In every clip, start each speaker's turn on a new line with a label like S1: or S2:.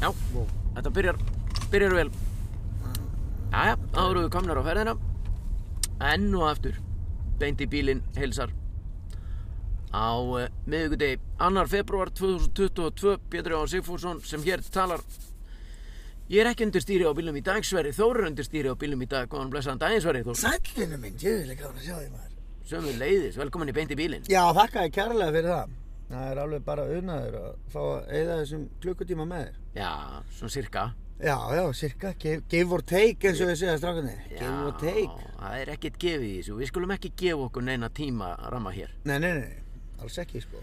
S1: Já,
S2: Vó.
S1: þetta byrjar, byrjar vel. Jæja, þá eru við komnar á ferðina. Enn og aftur, beint í bílinn heilsar. Á uh, miðugudegi 2. februar 2022, Pétur Jón Sigfússon sem hér talar. Ég er ekki undir stýri á bílum í dag, Sverri Þór er undir stýri á bílum í dag. Góðan blessaðan daginn, Sverri Þór.
S2: Sællinu minn, djöðulega gaman að sjá þig maður.
S1: Sömu leiðis, velkomin í beint í bílinn.
S2: Já, þakka þér kærlega fyrir það. Það er alveg bara unnaður að fá að eyða þessum klukkutíma með þér.
S1: Já, svona cirka.
S2: Já, já, cirka, give, give or take eins og við segja strákunni. Give or take.
S1: það er ekkert gefið í þessu. Við skulum ekki gefa okkur neina tíma ramma hér.
S2: Nei, nei, nei, alls ekki sko.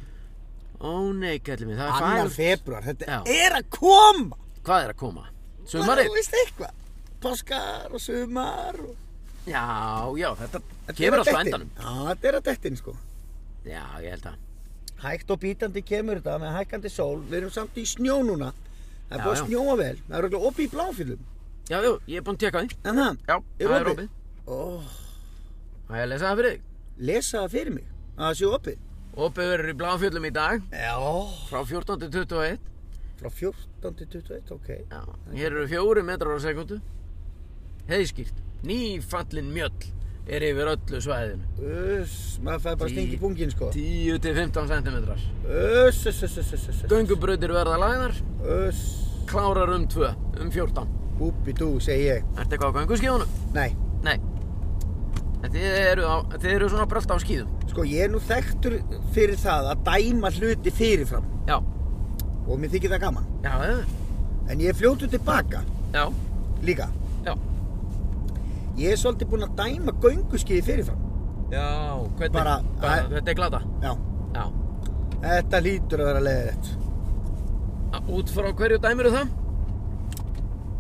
S1: Ó nei, kallið minn, það er
S2: Annar
S1: fagurt.
S2: februar, þetta
S1: Já.
S2: er að koma!
S1: Hvað er að koma?
S2: Þú
S1: Sumarið?
S2: veist eitthvað. Páskar og sumar og...
S1: Já, já, þetta,
S2: Þetta er
S1: kemur
S2: að
S1: alltaf
S2: detta inn.
S1: endanum.
S2: Já, þetta er að dettin sko.
S1: Já, ég held að.
S2: Hægt og bítandi kemur þetta með hækkandi sól. Við erum samt í snjó núna. Það er
S1: Já,
S2: búið að
S1: já.
S2: snjóa vel. Það er örugglega opið í bláfýlum.
S1: Já, jú, ég er búinn að tjekka því.
S2: En það,
S1: Já, það er opið.
S2: Ó,
S1: Það er að lesa það fyrir þig.
S2: lesa það fyrir mig að það sé opið
S1: Opið verður í Bláfjöllum í dag
S2: Já
S1: frá 14.21.
S2: Frá 14 til 21, ok
S1: Já, hér eru fjóri metrar á sekundu. Heiðskýrt, nýfallin mjöll er yfir öllu svæðinu.
S2: Uss, maður fær bara stingi pungin sko
S1: 10-15 cm.
S2: Uss, uss, uss, uss, uss, uss
S1: Göngubrautir verða lagðar,
S2: Uss
S1: klárar um 2, um 14.
S2: Búbi dú, segi ég
S1: Ertu eitthvað á gönguskíðunum?
S2: Nei,
S1: Nei. En Þið eru, á, þið eru svona brölt á skíðum.
S2: sko ég er nú þekktur fyrir það að dæma hluti fyrirfram
S1: Já.
S2: Og mér þykir það gaman
S1: Já, eh,
S2: En ég er fljótu tilbaka
S1: já,
S2: líka
S1: já.
S2: Ég er svolítið búinn að dæma gönguskiði fyrirfram
S1: Já, hvernig?
S2: Bara-
S1: bara þetta er glata.
S2: Já,
S1: Já.
S2: þetta lítur að vera leiðilegt
S1: Á- Út frá hverju dæmiru það?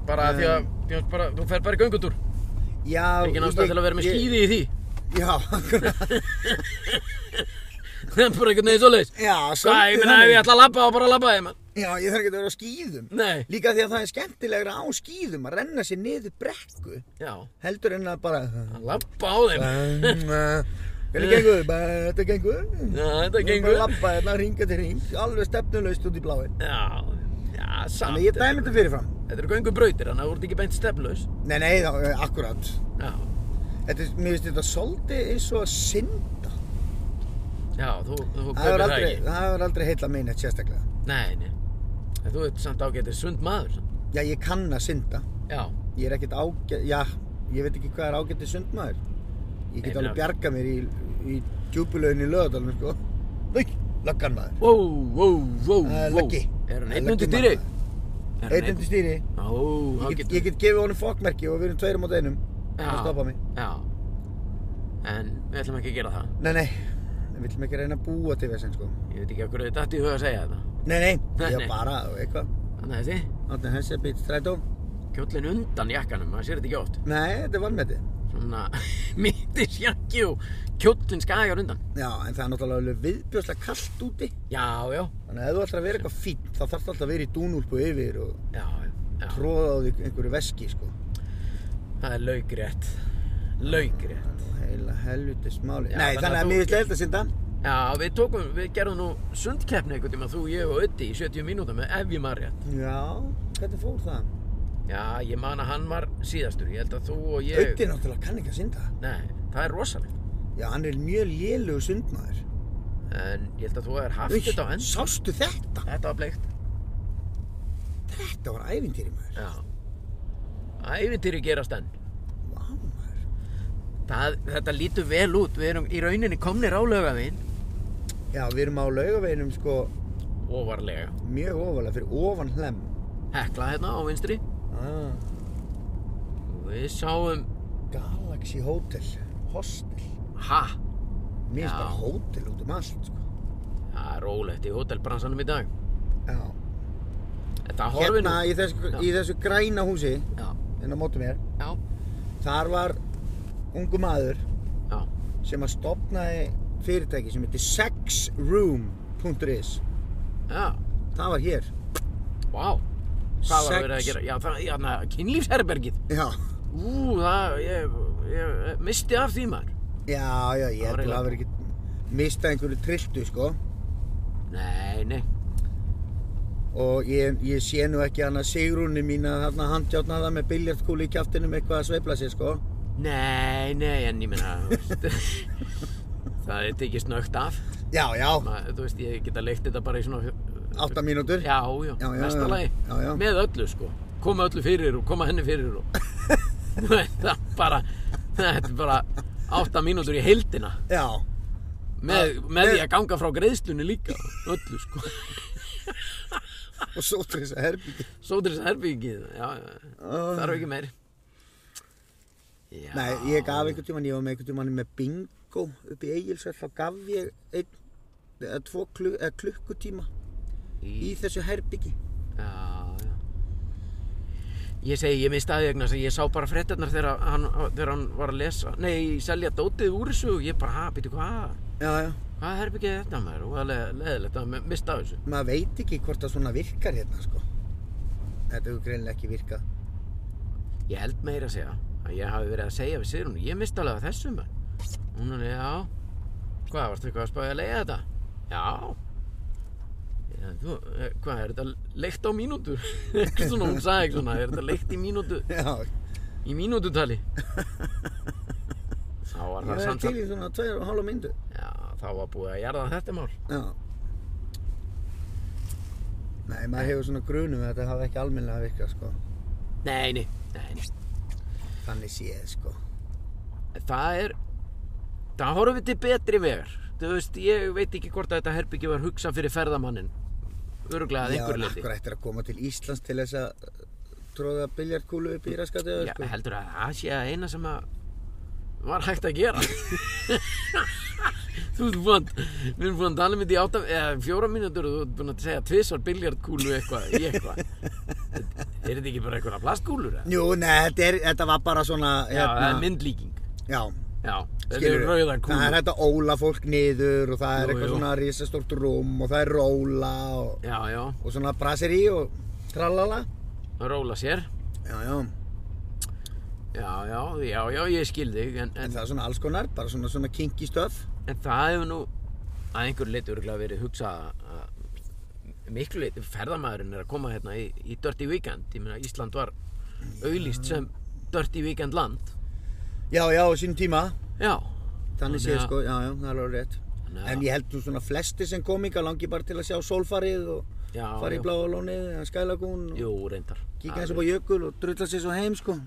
S1: Bara
S2: Eh.
S1: því að, því að bara, þú fer bara í göngutúr.
S2: Já
S1: Engin ástæð til að vera með
S2: ég-
S1: skíði í því.
S2: Já, akkurat
S1: Það er bara einhvern veginn svoleiðis.
S2: Já,
S1: Hvað, ég
S2: svolítið
S1: meina
S2: þannig.
S1: ef ég ætla að labba og bara labba þeim.
S2: Já, ég þarf ekki að vera á skýðum.
S1: Nei.
S2: Líka því að það er skemmtilegra á skýðum að renna sér niður brekku
S1: Já,
S2: heldur en að bara...
S1: að labba á þeim.
S2: Hvernig gengur? Bara, Þetta gengur.
S1: Já, þetta
S2: Ég er
S1: gengur.
S2: Bara lappa hérna, ringa til ring, alveg stefnulegst út í blái.
S1: Já, já, samt.
S2: Þannig ég dæmi þetta fyrirfram.
S1: Þetta eru göngubrautir, þannig að þú ert ekki beint steflaus.
S2: Nei, nei, þá, eh, akkurat.
S1: Já,
S2: Þetta, er- mér finnst þetta svolítið eins og að synda.
S1: já, þú, þú
S2: Það hefur
S1: kaupir það
S2: aldrei,
S1: ekki.
S2: það hefur aldrei heilla minn eitt sérstaklega.
S1: Nei, nei. En þú ert samt ágætið sund maður. samt.
S2: Já, ég kann að synda.
S1: Já,
S2: Ég er ekkert ágætt, já, ég veit ekki hvað er ágættið sundmaður.
S1: Nei,
S2: Ég get
S1: ég
S2: alveg
S1: meina-
S2: bjarga mér í, í djúpulauðin í lögadalunum, sko. Nei, löggan maður.
S1: Ó, ó, ó, ó.
S2: Það er löggi.
S1: Er hann
S2: Það er
S1: einn
S2: löggi
S1: undir dýri?
S2: maður. Einn undir stýri.
S1: Ó,
S2: Ég
S1: þá
S2: get,
S1: getur
S2: ég get gefið honum fokkmerki og við erum tveir á mót einum.
S1: Já.
S2: Það stoppa mig.
S1: Já. En við ætlum ekki að gera það.
S2: Nei, nei, við viljum ekki reyna að búa til þessin, sko.
S1: Ég veit ekki okkur að þetta í huga að segja þetta.
S2: Nei,
S1: Nei,
S2: nei, ég
S1: nei.
S2: var bara, eitthvað.
S1: Þannig að þessi,
S2: Áttin hessi að býta strætó.
S1: kjóllin undan jakkanum, maður sér þetta ekki oft.
S2: Nei, þetta er vanmetið.
S1: Svona mittis jakki og kjóllin skagar undan.
S2: Já, en það er náttúrulega alveg viðbjóðslega kallt úti.
S1: Já, já,
S2: Þannig að ef þú ætlar að vera eitthvað fínt, þá þarf alltaf að vera í dúnúlpu yfir og
S1: já, já.
S2: tróða á því einhverju veski, sko.
S1: Það er laugrétt. Laugrétt.
S2: Heila helvitis máli.
S1: Já,
S2: Nei,
S1: þannig að
S2: þannig að
S1: þú-
S2: mér finnst leiðilegt að synda.
S1: Já, við tókum, við gerðum nú sundkeppni einhvern tíma, þú, ég og Öddi í 70 mínúta með ef ég maður rétt.
S2: Já, hvernig fór það?
S1: Já, ég man að hann var síðastur, ég held að þú og ég...
S2: Ötti náttúrulega kann ekki að synda.
S1: Nei, það er rosalegt.
S2: Já, hann er mjög lélugu sundmaður.
S1: En ég held að þú er haft
S2: Uy,
S1: þetta á enn.
S2: Sástu þetta?
S1: Þetta var bleikt.
S2: Þetta var ævintýri maður.
S1: Já. Ævintýri gerast enn.
S2: Vá maður.
S1: Það, þetta lítur vel út, við erum í rauninni komnir á laugavinn.
S2: Já, við erum á laugaveginum sko
S1: Óvarlega.
S2: mjög ofalega fyrir ofan hlem.
S1: Hekla hérna á vinstri.
S2: Ah.
S1: Við sáum,
S2: Galaxy Hotel. Hostel.
S1: ha,
S2: Mér finnst
S1: Já.
S2: bara hótel út um allt sko.
S1: það er rólegt í hótelbransanum í dag.
S2: Já.
S1: Þetta horfir
S2: Hérna
S1: nú.
S2: í þessu,
S1: Já.
S2: í þessu græna húsi,
S1: Já,
S2: hérna á móti mér,
S1: já,
S2: þar var ungu maður
S1: já.
S2: sem að stopnaði fyrirtæki sem heitir sexroom.is
S1: Já,
S2: það var hér
S1: vá Hvað var
S2: Sex.
S1: að vera að gera? Já, það, já, na, kynlífsherbergið
S2: já,
S1: Ú, það, ég, ég misti af því maður
S2: já, já ég
S1: Það var
S2: held að
S1: eiginlega-
S2: það verið ekki mistað einhverju trilltu sko
S1: Nei, nei
S2: og ég, ég sé nú ekki annað sigrúnni mín að þarna handjárna það með biljartkúli í kjaftinum eitthvað að sveifla sér sko.
S1: Nei, nei, en ég meina þú veist, Það er tekið snögt af
S2: Já, já,
S1: Ma, Þú veist, ég geta leikt þetta bara í svona
S2: átta mínútur.
S1: Já, já,
S2: Já, já,
S1: mesta
S2: já.
S1: lagi
S2: Já, já.
S1: Með öllu, sko Koma öllu fyrir og koma henni fyrir og Þú veist, Það bara Þetta er bara átta mínútur í heildina
S2: Já,
S1: með,
S2: Já,
S1: með
S2: með-
S1: því að ganga frá greiðslunni líka Öllu, sko
S2: og svo til þess að herbyggi.
S1: Svo til þess að herbyggið Já, já, þarf ekki meir já.
S2: Um. Nei, ég gaf einhvern tíman, ég var með einhvern tíman með bingo upp í Egilsvöld, þá gaf ég einn, eða tvo kluk, eða klukkutíma í
S1: í...
S2: þessu herbyggi.
S1: Já, já Ég segi, ég misti aðeigna þess að ég sá bara fréttarnar þegar hann, þegar hann var að lesa Nei, selja dótið úr þessu og ég bara, ha, býtu hvað
S2: Já, já.
S1: Hvað herbyggið er þetta maður? Og alveg leðilegt að mista af þessu
S2: Maður veit ekki hvort það svona virkar hérna, sko. Þetta hefur greinilega ekki virkað.
S1: Ég held meira að segja að ég hafi verið að segja við Sigrun Ég misti alveg af þessu maður Hún er, já Hvað, varstu eitthvað að spáði að leiða þetta? Já Já, þú, eh, hvað, er þetta leikt á mínútu? Eitthvað svona, hún sagði eitthvað svona, er þetta leikt í mínútu,
S2: Já,
S1: í mínútutali? Þá var
S2: ég
S1: það
S2: er
S1: samt
S2: til
S1: að,
S2: í svona tveir og hálfa myndu.
S1: já, þá var búið að jarða þetta mál.
S2: Já. Nei, maður hefur svona grunum að þetta hafi ekki almennilega virkað, sko.
S1: Nei, nei, nei, nei.
S2: Þannig séð, sko.
S1: það er það horfum við til betri vegar þú veist, ég veit ekki hvort að þetta herbyggi var hugsað fyrir ferðamannin öruglega að
S2: Já,
S1: einhver
S2: en
S1: leiti
S2: akkur ættir að koma til Íslands til þess að tróða biljartkúlu upp í raskatið, sko.
S1: Já, heldur að það sé að eina sem að var hægt að gera þú veist búin að- við erum búin að tala um þetta í átta eða fjóra mínútur og þú ert búin að segja tvisvar biljartkúlu eitthvað í eitthvað er þetta ekki bara eitthvað plastkúlur eða?
S2: Jú, nei, þetta, er, þetta var bara svona
S1: já, það er myndlíking
S2: já,
S1: já, þetta
S2: Hérna- skilurðu.
S1: er rauða
S2: Það er hérna-
S1: kúlur
S2: hægt að óla fólk niður og það er
S1: Jú,
S2: eitthvað
S1: jú.
S2: svona risastórt rúm og það er róla og,
S1: já, já,
S2: og svona braseri og tralala
S1: róla sér
S2: Já, já, en,
S1: já, já, já, já, ég skil þig en, en
S2: það er svona alls konar, bara svona, svona kinky stöf
S1: En það hefur nú að einhver leitur verið hugsað að- að miklu leitur ferðamaðurinn er að koma hérna í, í Dirty Weekend. Ég meina Ísland var auðlýst sem Dirty Weekend land.
S2: Já, já, á sínum tíma
S1: Já.
S2: Þannig
S1: Þannig
S2: séð
S1: að-
S2: sko, já, já, það er alveg rétt
S1: Þannig að-
S2: En ég held nú svona flesti sem kom kominga langi bara til að sjá sólfarið og
S1: Já,
S2: fara í
S1: já.
S2: bláa lónið eða skælagún og
S1: Jú, reyndar.
S2: kíka eins og bá jökul og drulla sér svo heim sko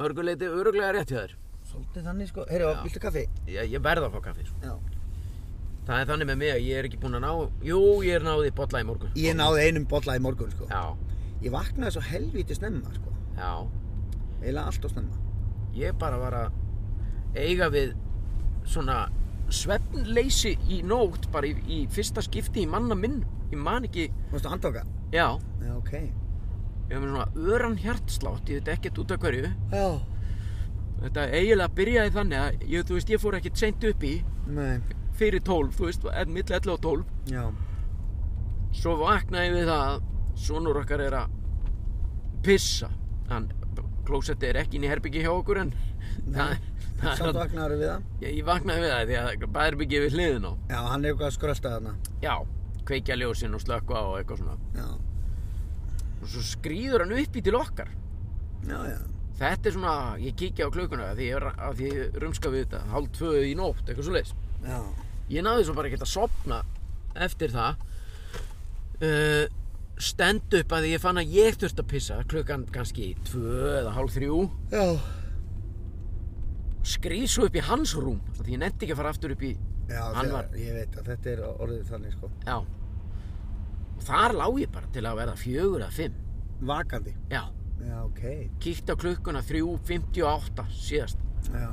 S1: Mörgur leiti öruglega rétt hjá þér.
S2: Svolítið þannig sko, heyrðu,
S1: Já.
S2: viltu kaffi?
S1: Ég, ég verð að fá kaffi. Sko.
S2: Já
S1: Það er þannig með mig að ég er ekki búinn að ná... Jú, ég er náði í bolla í morgun.
S2: Ég náði einum bolla í morgun sko.
S1: Já,
S2: Ég vaknaði svo helvíti snemma sko.
S1: já.
S2: Eila allt og snemma.
S1: Ég bara var að eiga við svona svefnleysi í nótt bara í, í fyrsta skipti í manna minn ég man ekki,
S2: Mástu að andoka?
S1: já
S2: Já, ok.
S1: ég hef með svona öran hjartslátt ég veit ekkert út af hverju
S2: Já.
S1: þetta eiginlega byrjaði þannig að ég, þú veist, ég fór ekkert seint upp í
S2: Nei.
S1: fyrir 12, þú veist, en milli 11 og 12
S2: Já.
S1: svo vaknaði ég við það að sonur okkar er að pissa hann, klósetti er ekki inn í herbyggi hjá okkur en það, það
S2: Samt
S1: er
S2: vaknaður við það.
S1: ég, ég vaknaði við það því að bæðherbyggi við hliðin á
S2: Já, hann er eitthvað að skrölda þarna.
S1: já, kveikja ljósin og slökka á og eitthvað svona
S2: Já.
S1: og svo skrýður hann upp í til okkar
S2: Já, já.
S1: þetta er svona, ég kíkja á klukkuna af því ég, er- af því ég rumska við þetta hálf tvö í nótt, eitthvað svo leis
S2: Já.
S1: ég náði svo bara ekkert að sopna eftir það uh, stend upp að ég fann að ég þurfti að pissa klukkan kannski tvö eða hálf þrjú
S2: Já.
S1: skrýð svo upp í hans rúm af því ég nefndi ekki að fara aftur upp í
S2: Já,
S1: Hann
S2: þegar,
S1: var-
S2: ég veit að þetta er orðið þannig sko.
S1: já og þar lá ég bara til að verða fjögur eða fimm
S2: Vakandi.
S1: já
S2: Já, ok.
S1: kíkt á klukkuna 3.58 síðast
S2: Já.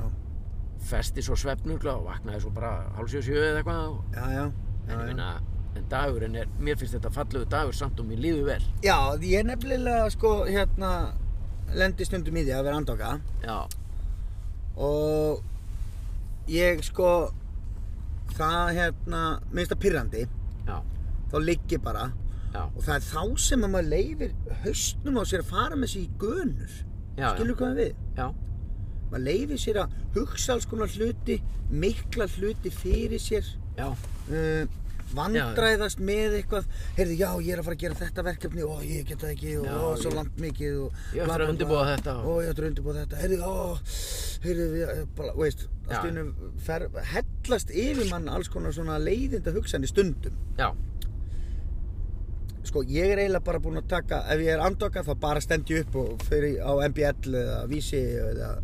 S1: festi svo svefnugla og vaknaði svo bara hálfsjóðsjö eða eitthvað og,
S2: Já, já.
S1: en,
S2: Já,
S1: ég
S2: já.
S1: meina, en dagurinn er, mér finnst þetta fallegu dagur samt og mér líður vel
S2: já, ég nefnilega sko hérna lendi stundum í því að vera að andoka.
S1: já,
S2: og ég sko það hérna minnst að pyrrandi
S1: já,
S2: þá ligg ég bara
S1: já,
S2: og það er þá sem að maður leifir haustnum á sér að fara með sér í gönur
S1: já, já,
S2: skilur hvað við við?
S1: já,
S2: maður leifir sér að hugsa alls konar hluti mikla hluti fyrir sér
S1: já,
S2: uh, vandræðast með eitthvað heyrðu, já, ég er að fara að gera þetta verkefni og ég geta það ekki og
S1: Já,
S2: já, svo
S1: ég-
S2: langt mikið og
S1: Ég á eftir
S2: bla,
S1: að
S2: bla, bla.
S1: undirbúa þetta og-
S2: Ó, ég ættir að undirbúa þetta heyrðu, ó, heyrðu, við, eh, bara, veist
S1: Já.
S2: allt í einu fer, hellast yfir mann alls konar svona leiðinda hugsanir stundum
S1: Já,
S2: sko, ég er eiginlega bara búinn að taka ef ég er andokað þá bara stend ég upp og fyrir á MBL eða Vísi eða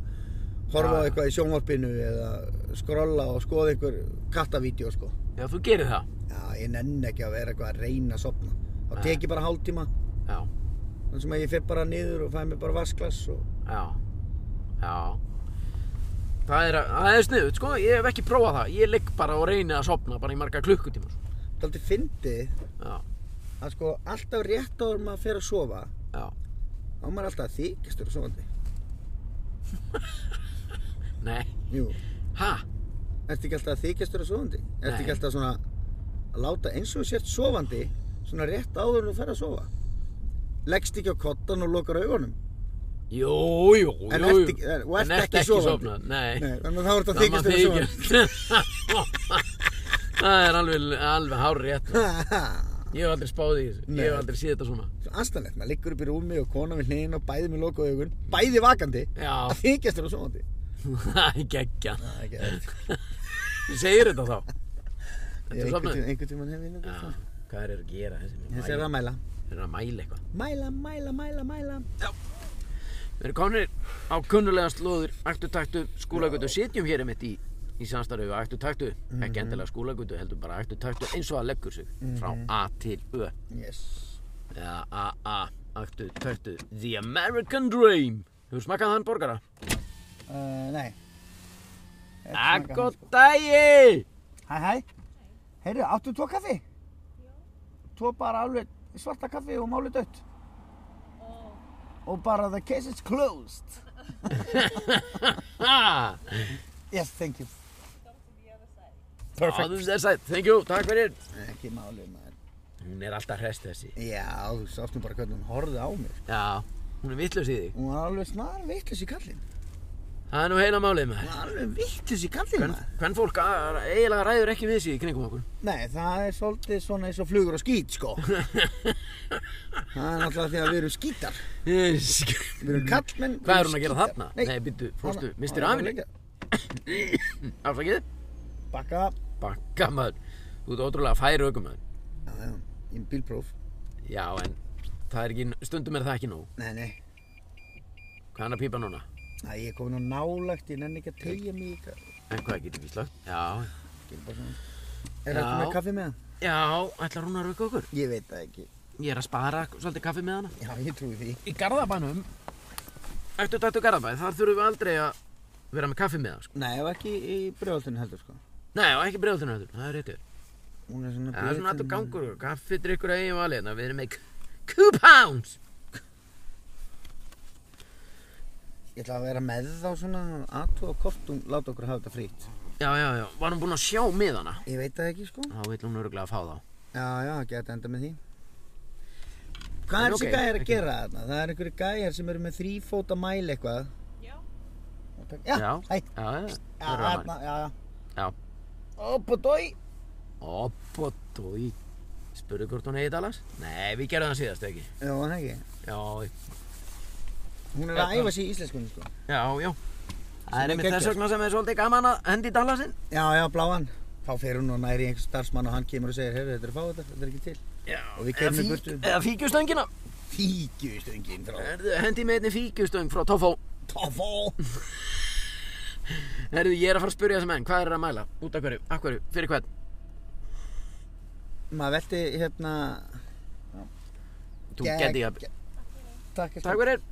S2: horfa á
S1: Já.
S2: eitthvað í sjónvarpinu eða skrolla og skoða einhver kattavídeó sko.
S1: já, þú gerir það.
S2: Já, ég nenni ekki að vera eitthvað að reyna að sopna. Þá
S1: Nei.
S2: tek ég bara hálftíma,
S1: Já,
S2: þannig sem að ég fer bara niður og fæ mér bara vasklas og...
S1: já, já. Það er, það er sniðut, sko, ég hef ekki prófað það. Ég ligg bara og reyni að sopna bara í marga klukkutíma. sko.
S2: Það er aldrei fyndið
S1: Já,
S2: að sko alltaf rétt áður en maður fer að sofa,
S1: já.
S2: þá er maður alltaf að þykist vera sofandi.
S1: Nei,
S2: Jú,
S1: ha?
S2: ertu ekki alltaf að þykist vera sofandi? Ertu
S1: Nei.
S2: ekki alltaf svona að láta eins og þú sért sofandi, svona rétt áður en þú fer að sofa? Leggst ekki á kottan og lokar augunum?
S1: Jú, jú, jú.
S2: En
S1: jú.
S2: ert ekki- en- og
S1: En
S2: ert ekki sofandi?
S1: sofnað, Nei.
S2: Nei, þannig að þá ertu að
S1: Það
S2: þykist
S1: maður
S2: vera sofandi.
S1: þykist. Það er alveg, alveg hár rétt.
S2: Haha,
S1: Ég hef aldrei spáð í þessu. Ég hef
S2: Nei.
S1: aldrei séð þetta svona.
S2: aðstæðanlegt, maður liggur upp í rúmi og kona við hliðin og bæði með lokaðu augun, bæði vakandi,
S1: Já.
S2: að þykjast vera sofandi.
S1: Það er geggja.
S2: Það er ekki aðeins.
S1: Þú segir þetta þá. Þetta er
S2: Einhvern
S1: sofnað.
S2: tíma, einhvern tíma hef ég nefnir
S1: Já,
S2: það.
S1: hvað er að gera þessi?
S2: Þessi er að mæla.
S1: Þeir eru að mæla eitthvað.
S2: Mæla, mæla, mæla, mæla.
S1: Við erum komin á kunnulega slóður Ættu taktu skúlagötu Sitjum hér einmitt í, í samstarfi og ættu taktu
S2: Mhm.
S1: Ekki endilega skúlagötu, heldur bara ættu taktu eins og að leggur sig Frá
S2: Mhm.
S1: A til Ö
S2: Yes.
S1: Eða AA Ættu taktu The American Dream Hefur smakkað þann borgara?
S2: Uh, nei. Ekki
S1: Ah,
S2: smakað hann,
S1: Akko dægi!
S2: sko. Hæ, hæ. Heyrðu, áttu tvo kaffi? Já. Tvo bara alveg svarta kaffi og máli dött. Og bara the case is closed.
S1: Ha!
S2: Yes, thank you.
S1: Perfect þess að, thank you, takk fyrir
S2: Ekki máli maður.
S1: Hún er alltaf hrest þessi
S2: Já, þú sáttum bara hvernig hún horfði á mig. sko.
S1: Já, hún er vitlaus í þig
S2: Hún var alveg snar vittlis í kallin.
S1: Það er nú heila málið með
S2: Hún var alveg vittlis í kallin
S1: Hvern,
S2: maður.
S1: hvern fólk að- eiginlega ræður ekki við sig í kringum okkur
S2: Nei, það er svolítið svona eins og flugur og skít, sko. það er náttúrulega því að við erum skítar. Við erum kallmenn,
S1: Mm.
S2: við
S1: Hvað er
S2: erum
S1: hún að gera
S2: skítar.
S1: þarna?
S2: Nei,
S1: Nei, byttu, fórstu,
S2: hana-
S1: mistir
S2: hana
S1: afinni
S2: líka.
S1: Afsakið,
S2: Bakka.
S1: bakka maður Þú ert ótrúlega færi aukum maður
S2: Já, já, ég er bílpróf.
S1: Já, en það er ekki, stundum er það ekki nóg
S2: Nei, nei,
S1: Hvað er hann að pípa núna?
S2: Æ, ég er komin á nálægt, ég nenni ekki að tegja mig í kall.
S1: En hvað getur ekki slögt? Já,
S2: Ég er bara svona. Er
S1: Já.
S2: þetta með kaffi með hann?
S1: já, ætlar hún að rauka okkur
S2: Ég veit það ekki.
S1: Ég er að spara svolítið kaffi með hana
S2: Já, ég trúi því.
S1: Í Garðabænum Eftir dættu Garðabæn, þar þurfum við aldrei að vera með kaffi með hann sko.
S2: Nei, og ekki í brjóðaldinu heldur, sko.
S1: Nei, og ekki bregðutinu heldur, það er réttið
S2: Hún er svona
S1: Það er svona alltaf
S2: brjóðaldinu-
S1: gangur, kaffi drikkur að eigin valið Við erum með coupons
S2: Ég ætla að vera með þá svona aðtú og kort og láta okkur hafa þetta frýtt.
S1: Já, já, já, var hún búin að sjá miðana?
S2: Ég veit það ekki, sko.
S1: Þá vill hún öruglega að fá þá.
S2: Já, já, geta enda með því. Hvað
S1: En
S2: er þessi
S1: ok,
S2: okay, gæjar að
S1: ekki-
S2: gera þarna? Það er einhverju gæjar sem eru með þrýfóta mæl eitthvað. Já. Já, hæ.
S1: já, já.
S2: Já, hérna.
S1: það er
S2: þarna,
S1: rafmagn.
S2: já, já.
S1: Já.
S2: Opp og dói.
S1: Oppotói. Spurðu hvort hún heiti Dallas? Nei, við gerðum það síðast ekki.
S2: Já, hann ekki.
S1: Já,
S2: Hún er
S1: Já,
S2: að æfa sig í íslenskunni, sko.
S1: já, já. Það
S2: er
S1: er einmitt
S2: geggjað.
S1: þess vegna sem er svolítið gaman að hendi Dallasinn.
S2: Já, já, bláan. Þá fer hún og næri einhver starfsmann og hann kemur og segir, heyrðu, þetta er að fá þetta, þetta er ekki til.
S1: Já,
S2: Og við keyrum í burtu.
S1: Eða fíkjustöngina.
S2: Fíkjustöngin frá
S1: Herðu, hendi með einni fíkjustöng frá Toffó.
S2: Toffó.
S1: Herðu, ég er að fara að spurja þessa menn, hvað er að mæla? Út af hverju, af hverju, fyrir hvern?
S2: Maður velti hérna...
S1: Þú geti ég að...
S2: gegg- Takk,
S1: Takk fyrir.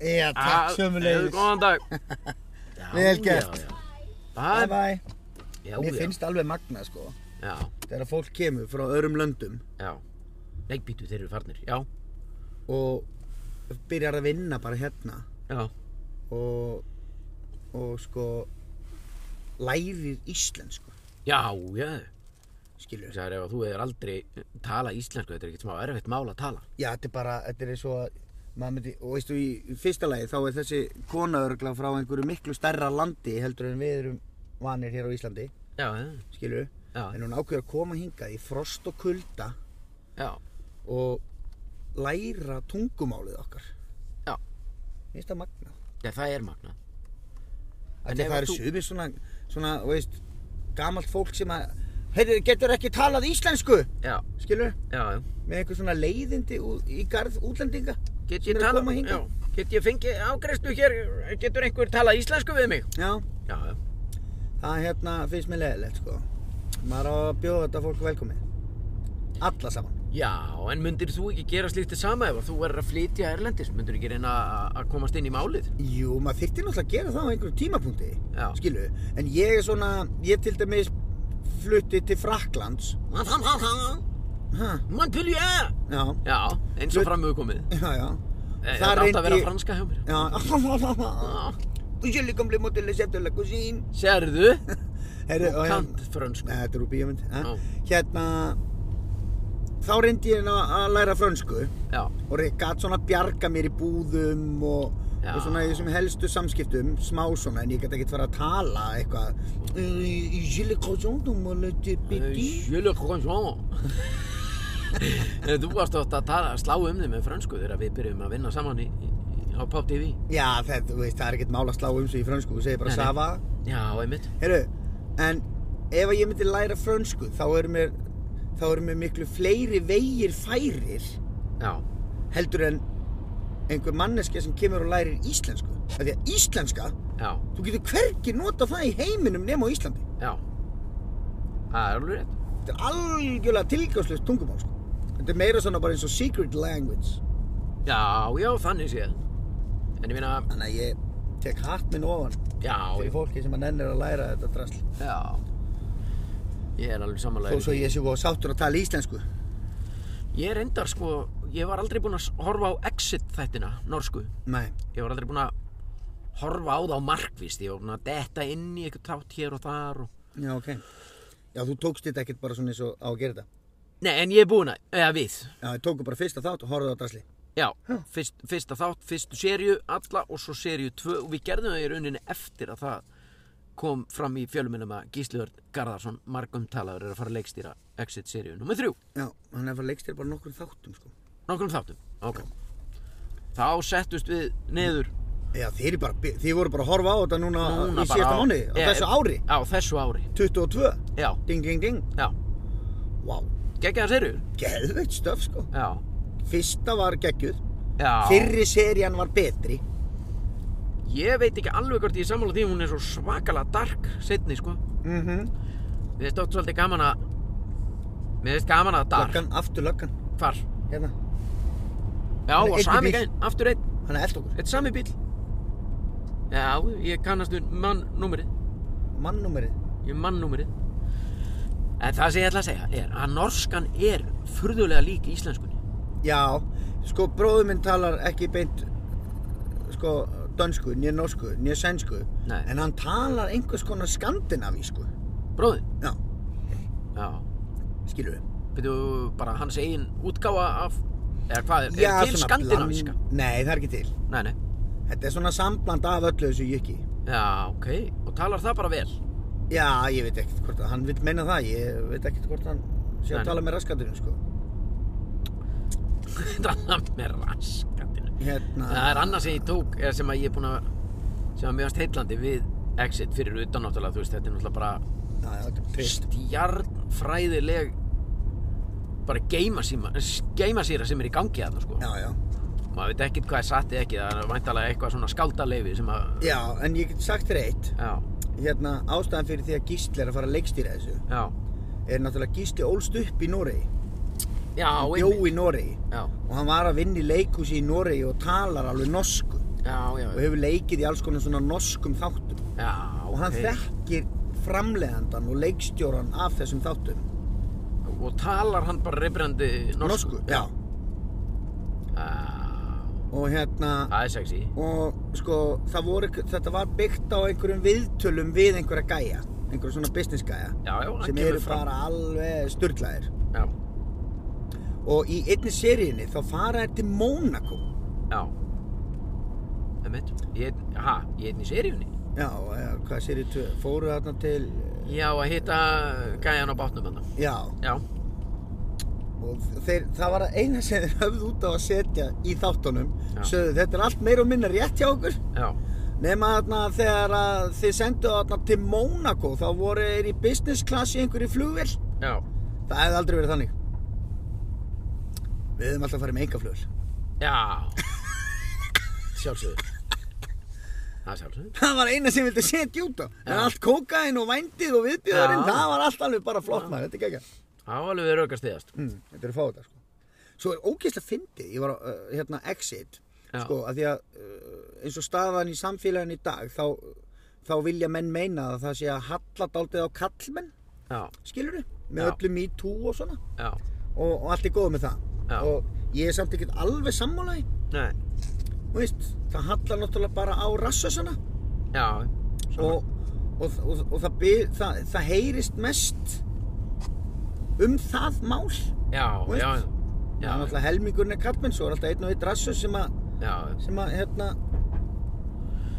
S2: Já, takk
S1: Hefðu
S2: sömulegis.
S1: Góðan dag. Já,
S2: Vel gert.
S1: já, já.
S2: Bye
S1: Bye.
S2: bye.
S1: Já,
S2: Mér
S1: já.
S2: finnst alveg magna, sko.
S1: Já,
S2: Þegar fólk kemur frá öðrum löndum
S1: já. Nei, býtu, þeir eru farnir. Já,
S2: og byrjar að vinna bara hérna
S1: já.
S2: og, og sko lærir íslensku
S1: Já, já,
S2: skilur við
S1: það er ef að þú hefur aldrei talað íslensku, þetta er ekkert smá erfitt mál að tala.
S2: já þetta er bara, þetta er eins og að maður myndi, og veistu í, í fyrsta lagi þá er þessi kona örgla frá einhverju miklu stærra landi heldur en við erum vanir hér á Íslandi
S1: já, já,
S2: skilur
S1: já,
S2: en hún ákveður að koma hingað í frost og kulda
S1: já,
S2: og læra tungumálið okkar
S1: Já.
S2: Mér finnst það magna
S1: já, það er magnað. En
S2: en
S1: ef
S2: það eru
S1: þú-
S2: sumir svona, svona þú veist, gamalt fólk sem að heyrðu, getur ekki talað íslensku
S1: Já,
S2: skilur,
S1: já, já.
S2: með einhver svona leiðindi ú- í garð útlendinga
S1: Get ég
S2: Sem eru að
S1: tala,
S2: koma hingað.
S1: já, get ég fengið ágreistu hér, getur einhver talað íslensku við mig?
S2: já,
S1: Já, já,
S2: það hérna finnst mér leiðilegt sko maður á að bjóða þetta fólk velkomið alla saman
S1: já, en myndir þú ekki gera slíkt til sama ef að þú verður að flytja erlendis? Myndir ekki reyna að- að komast inn í málið?
S2: jú, maður þyrfti náttúrulega að gera það á einhverjum tímapunkti
S1: Já.
S2: skilur, en ég er svona ég til dæmis flutti til Fraklands ha,
S1: Montpellier!
S2: já,
S1: Já, eins og
S2: Hlut-
S1: framöðu komið.
S2: já, já
S1: Eh,
S2: Þar
S1: Þetta átt að
S2: reyndi
S1: vera
S2: ég-
S1: franska hjá mér.
S2: já
S1: Já,
S2: Je lui comme les mots de la chef de la cuisine
S1: Sérðu?
S2: Herri,
S1: Þú
S2: og hérna-
S1: kannt frönsku.
S2: Nei, þetta er úr bíómynd eh?
S1: Já.
S2: Hérna Þá reyndi ég að að læra frönsku
S1: Já,
S2: og ég gat svona bjarga mér í búðum og,
S1: Já.
S2: og svona í þessum helstu samskiptum smá svona, en ég gat ekkert fara að tala eitthvað "Euh, Je le croissant du mole de petit
S1: Jölu Kronjón Eh, Þú varst oft að tala, slá um þig með frönsku þegar við byrjum að vinna saman í, í, á Pop TV
S2: Já, það, þú veist, það er ekkert mála að slá um sig í frönsku, þú segir bara
S1: Nei, nei.
S2: Sava
S1: Já, einmitt
S2: Herru, en ef að ég myndi læra frönsku þá eru mér, þá eru mér miklu fleiri vegir færir
S1: Já,
S2: heldur en einhver manneska sem kemur og lærir íslensku af því að íslenska,
S1: já,
S2: þú getur hvergi nota það í heiminum nema á Íslandi
S1: já Það er alveg rétt
S2: þetta er algjörlega tilgjáðslust tungumál sko. þetta er meira svona bara eins og secret language
S1: Já, já, þannig séð En ég meina,
S2: þannig að ég tek hatt minn ofan
S1: já,
S2: fyrir
S1: ég,
S2: fólki sem að nennir að læra þetta drasl
S1: já Ég er alveg
S2: þó
S1: samanlega
S2: svo ég sé góð sáttur að tala íslensku
S1: Ég er endar, sko, ég var aldrei búinn að s- horfa á Exit þættina, norsku
S2: nei,
S1: Ég var aldrei búinn að horfa á það á markvist Ég var búinn að detta inn í eitthvað tát hér og þar og
S2: já ok já, þú tókst þetta ekkert bara svona eins og á að gera þetta
S1: Nei, en ég er búinn að, eða við
S2: já, ég tóku bara fyrsta þátt og horfði á drasli
S1: Já, fyrst, fyrsta þátt, fyrstu serju, alla og svo serju tvö og við gerðum það í rauninni eftir að það kom fram í fjöluminn að Gísli Örn Garðarsson margumtalaður er að fara að leikstýra Exit serju nummer þrjú,
S2: já, hann er bara leikstir bara nokkur þáttum sko.
S1: nokkrum þáttum Ok Þá settust við niður
S2: já, þið, bara, þið voru bara að horfa á þetta núna,
S1: núna
S2: í síðasta
S1: á-
S2: mánu á
S1: Eh,
S2: þessu ári
S1: Á þessu ári,
S2: 22
S1: já,
S2: Ding, ding, ding
S1: já
S2: Vá,
S1: Gekkjaðan serjur,
S2: geðveikt stöf sko
S1: já
S2: Fyrsta var geggjuð
S1: Já,
S2: Fyrri serían var betri
S1: ég veit ekki alveg hvort ég er sammála því hún er svo svakalega dark setni sko
S2: mm -hmm.
S1: Mér finnst oft svolítið gaman að Mér finnst gaman að dark
S2: Löggan, aftur löggan
S1: Hvar?
S2: Hérna
S1: Já,
S2: Hann er
S1: og
S2: einn í
S1: sami
S2: bíl.
S1: gæn, aftur einn,
S2: Hann er eld okkur
S1: þetta er sami bíl Já, ég kannast við mannnúmerið,
S2: Mannúmerið
S1: ég er mannnúmerið En það sem ég ætla að segja er að norskan er furðulega lík íslenskunni
S2: Já Sko bróður minn talar ekki beint Sko dönsku, nýja norsku, nýja sænsku
S1: Nei.
S2: En hann talar einhvers konar skandinavísku
S1: Bróði,
S2: Já,
S1: já,
S2: skilur við
S1: byrju bara hans eigin útgáfa af Eða hvað er,
S2: Já,
S1: er til
S2: svona
S1: skandinavíska?
S2: bland- Nei, það er ekki til
S1: Nei, nei,
S2: Þetta er svona sambland af öllu þessu jökki
S1: já, ok, og talar það bara vel
S2: Já, ég veit ekkert hvort að hann vil meina það, ég veit ekkert hvort hann
S1: Nei,
S2: sé
S1: nei.
S2: að tala með raskaturinn, sko.
S1: Talar með raskatinu
S2: Hérna,
S1: Það er annað sem ég tók eða sem að ég er búinn að sem að mjögast heillandi við Exit fyrir utan náttúrulega, þú veist, þetta er náttúrulega bara
S2: Já, já, þetta er trist.
S1: stjarnfræðileg bara geimasýma geimasýra sem er í gangi þarna sko
S2: Já, já.
S1: maður veit ekkert hvað er satt eða ekki það er væntalega eitthvað svona skáldaleifi sem að
S2: Já, en ég get sagt þér eitt,
S1: já,
S2: hérna, ástæðan fyrir því að Gísli er að fara að leikstýra þessu
S1: já,
S2: er náttúrulega Gísli ólst upp í Noregi,
S1: já,
S2: hann bjó
S1: einmitt.
S2: í Noregi
S1: já,
S2: og hann var að vinna í leikhúsi í Noregi og talar alveg norsku
S1: já, já,
S2: og hefur leikið í alls konar svona norskum þáttum
S1: já
S2: og hann
S1: ok.
S2: þekkir framleiðandan og leikstjóran af þessum þáttum.
S1: og talar hann bara reybrandi norsku
S2: já.
S1: Já,
S2: Og hérna,
S1: það er sexy
S2: og sko það voru, þetta var byggt á einhverjum viðtölum við einhverja gæja einhverjum svona business gæja
S1: já, já, hann
S2: sem
S1: kemur
S2: eru
S1: fram.
S2: bara alveg sturglaðir
S1: já,
S2: og í einni seríunni þá fara þær til Mónaco
S1: já Emmett, ég, ha, ég er einn í seríunni
S2: já, eða hvað seríu 2 fóru þarna til
S1: Já, að hitta gæjan á bátnum hann.
S2: Já,
S1: Já,
S2: og þeir, það var að eina sem þeir höfðu út á að setja í þáttunum
S1: Já.
S2: sögðu þetta er allt meira og minna rétt hjá okkur
S1: já,
S2: nema þarna þegar að þið sendu þarna til Monaco þá voru þeir í business class í einhverju flugvél
S1: já.
S2: það hefði aldrei verið þannig við höfum alltaf farið með enga flugvél
S1: Já. Sjálfsögur. Það er sjálfsögur.
S2: það var eina sem vildi setja út á en
S1: Já.
S2: allt kókain og vændið og viðbjöðurinn
S1: Já.
S2: það var allt alveg bara flott maður, þetta er geggjað
S1: Það var alveg raukast þigast.
S2: mm, þetta er fáið þetta sko. svo er ógeðslega fyndið, ég var á uh, hérna exit
S1: Já.
S2: sko, að því að uh, eins og staðan í samfélaginu í dag þá, þá vilja menn meina að það sé að halla daldið á kallmenn
S1: Já,
S2: skilur með
S1: Já.
S2: öllu me too og svona
S1: já,
S2: og, og allt er góð með það
S1: Já.
S2: og ég er samt ekkert alveg sammálaði
S1: nei,
S2: veist, það hallar náttúrulega bara á rassasana
S1: já.
S2: og, og, og, og það, byr, það, það heyrist mest um það mál
S1: Já,
S2: Veist?
S1: já,
S2: það er
S1: já, já,
S2: náttúrulega helmingurinn er kallmenn svo er alltaf einn og einn rassu sem að,
S1: já,
S2: sem að hérna,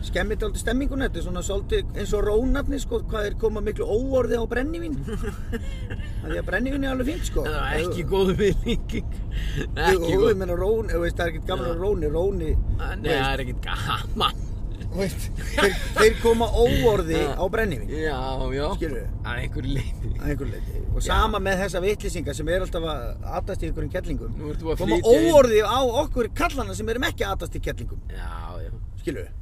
S2: skemmir þetta stemminguna þetta er svona svolítið eins og rónarnir sko, hvað er koma miklu óorði á brennivín af því að brennivín er alveg fínt sko
S1: það er ekki góð viðlíking,
S2: ekki
S1: ekki
S2: góð
S1: góð,
S2: meina, rón, þú veist, það er ekkert gaman að róni róni
S1: nei, það er ekkert gaman,
S2: þú veist, þeir, þeir koma óorði
S1: Já.
S2: á brennivín
S1: já, já,
S2: skilur við
S1: það er einhver leiti,
S2: að einhverju leyti og
S1: Já.
S2: sama með þessa vitlýsinga sem er alltaf að atast í einhverjum kettlingum
S1: Nú ert þú að
S2: koma
S1: flytja inn-
S2: óorði á okkur kallana sem erum ekki að atast í kettlingum
S1: já, já,
S2: skilu við?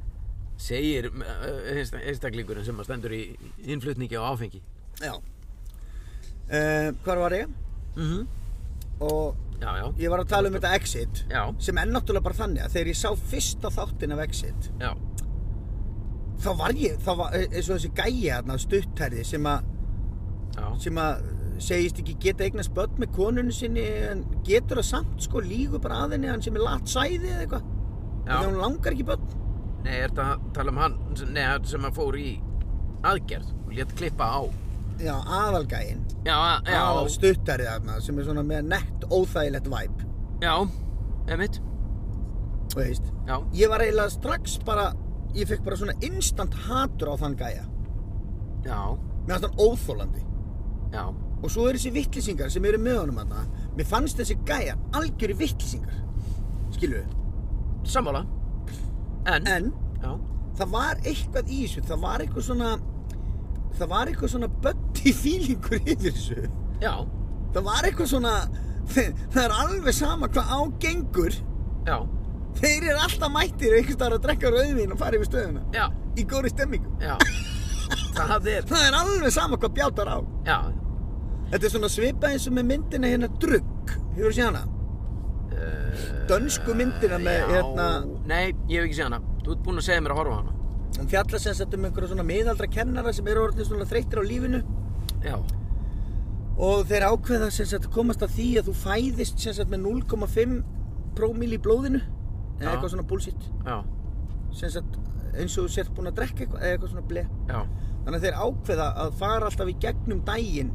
S1: segir uh, einsta- einstaklingurinn sem að stendur í innflutningi á áfengi.
S2: Já uh, Hvar var ég?
S1: Mm
S2: Og
S1: Já, já,
S2: ég var að tala um þetta Exit
S1: já,
S2: sem er náttúrulega bara þannig að þegar ég sá fyrsta þáttinn af Exit
S1: já,
S2: þá var ég, þá var eh, eins og þessi gæja þarna stutthærði sem að
S1: já,
S2: sem að segist ekki geta eignast börn með konunni sinni en getur það samt sko lígu bara að henni hann sem er lat sæði eða eitthvað þegar
S1: já,
S2: hún langar ekki börn
S1: nei, er þetta að tala um hann, nei, hann sem að fór í aðgerð og létt klippa á,
S2: Já, aðalgæinn
S1: já, að-
S2: aðal
S1: já,
S2: stuttari þarna sem er svona með nett óþægilegt væp
S1: já, emitt,
S2: veist.
S1: já,
S2: ég var eiginlega strax bara ég fekk bara svona instant hatur á þann gæja
S1: já,
S2: mér fannst hann óþólandi
S1: já,
S2: og svo eru þessi vittlýsingar sem eru með honum þarna mér fannst þessi gæja algjöri vittlýsingar skilu
S1: sammála, en,
S2: en
S1: já,
S2: það var eitthvað í þessu það var eitthvað svona það var eitthvað svona buddy feelingur yfir þessu
S1: já,
S2: það var eitthvað svona það er alveg sama hvað ágengur
S1: já,
S2: Þeir eru alltaf mættir einhvers staðar að drekka rauðvín og fara yfir stöðuna
S1: já,
S2: í góri stemmingu.
S1: já, það er,
S2: Það er alveg sama hvað bjátar á.
S1: já,
S2: Þetta er svona svipað eins og með myndina hérna Drugg. Hefur þú séð hana?
S1: uh,
S2: Dönsku myndina með
S1: já,
S2: hérna,
S1: nei, ég hef ekki séð hana, þú ert búinn að segja mér að horfa á hana,
S2: hún fjalla sem sett um einhverja svona miðaldra kennara sem eru orðin svona þreyttir á lífinu
S1: já,
S2: og þeir ákveða sem sett komast að því að þú fæðist sem sett með 0,5 prómil í blóðinu
S1: Já.
S2: eða eitthvað svona bullshit
S1: já,
S2: sem sett eins og þú sért búin að drekka eitthvað eða eitthvað svona ble
S1: já,
S2: þannig að þeir ákveða að fara alltaf í gegnum daginn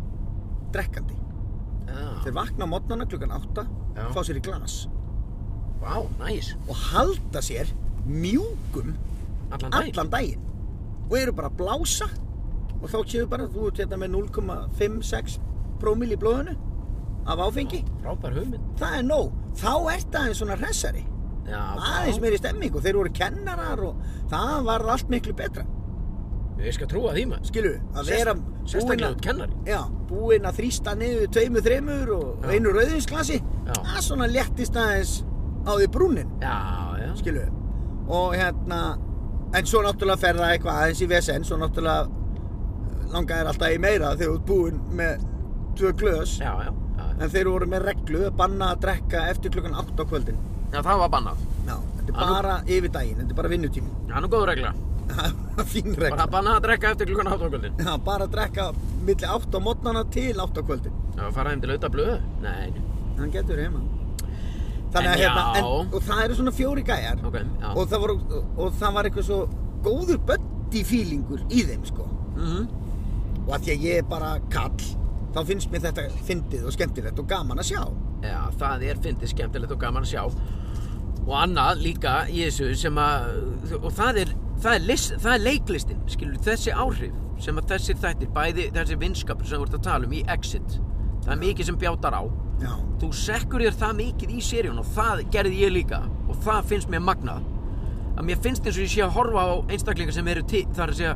S2: drekkandi
S1: já,
S2: Þeir vakna á mótnana klukkan 8
S1: Já.
S2: fá sér í glas
S1: vá, næs,
S2: og halda sér mjúkum
S1: allan daginn,
S2: allan daginn og eru bara að blása og þá séu bara þú ert hérna með 0,56 prómil í blóðinu af áfengi
S1: frábær hugmynd,
S2: það er nóg, þá ert það eins svona hressari
S1: já,
S2: aðeins meiri stemming og þeir voru kennarar og það varð allt miklu betra
S1: ég skal trúa því maður,
S2: skilu, að
S1: Sérst-
S2: vera búin
S1: sérstaklega
S2: að,
S1: út kennari,
S2: já, búin að þrýsta niður tveimu þreimur og
S1: Já.
S2: einu rauðinsklasi
S1: Já.
S2: það svona léttist aðeins á því brúnin
S1: já, já,
S2: skilu og hérna en svo náttúrulega fer það eitthvað aðeins í vesen svo náttúrulega eh, langaði þér alltaf í meira þegar þú ert búinn með tvö glös
S1: já, já, já, já,
S2: en þeir voru með reglu að banna að drekka eftir klukkan 8 á kvöldin
S1: já, það var bannað,
S2: Já, þetta er
S1: Að nú-
S2: bara yfir daginn, þetta er bara vinnutími
S1: það er nú góð regla,
S2: fín
S1: bara
S2: regla
S1: bannað að drekka eftir klukkan átt á kvöldin,
S2: Já, bara að drekka milli 8 á mótnana til 8 á kvöldin
S1: já, fara heim til auðvitað blöðu, nei,
S2: hann getur heima þannig
S1: En
S2: að hérna,
S1: já.
S2: en, og það eru svona fjóri gæjar
S1: ok, já,
S2: og það, voru, og það var eitthvað svo góður buddy feelingur í þeim sko
S1: mhm,
S2: og að því að ég er bara kall þá finnst mér þetta fyndið og skemmtilegt og gaman að sjá
S1: Já, það er fyndið skemmtilegt og gaman að sjá og annað líka í þessu sem að og það er, það er, list, það er leiklistin skilur þessi áhrif sem að þessir þættir, bæði þessi vinskapur sem þú ert að tala um í Exit það er mikið sem bjátar á
S2: Já,
S1: þú sekkur þér það mikið í seríun og það gerði ég líka og það finnst mér magnað að mér finnst eins og ég sé að horfa á einstaklingar sem eru til þar að segja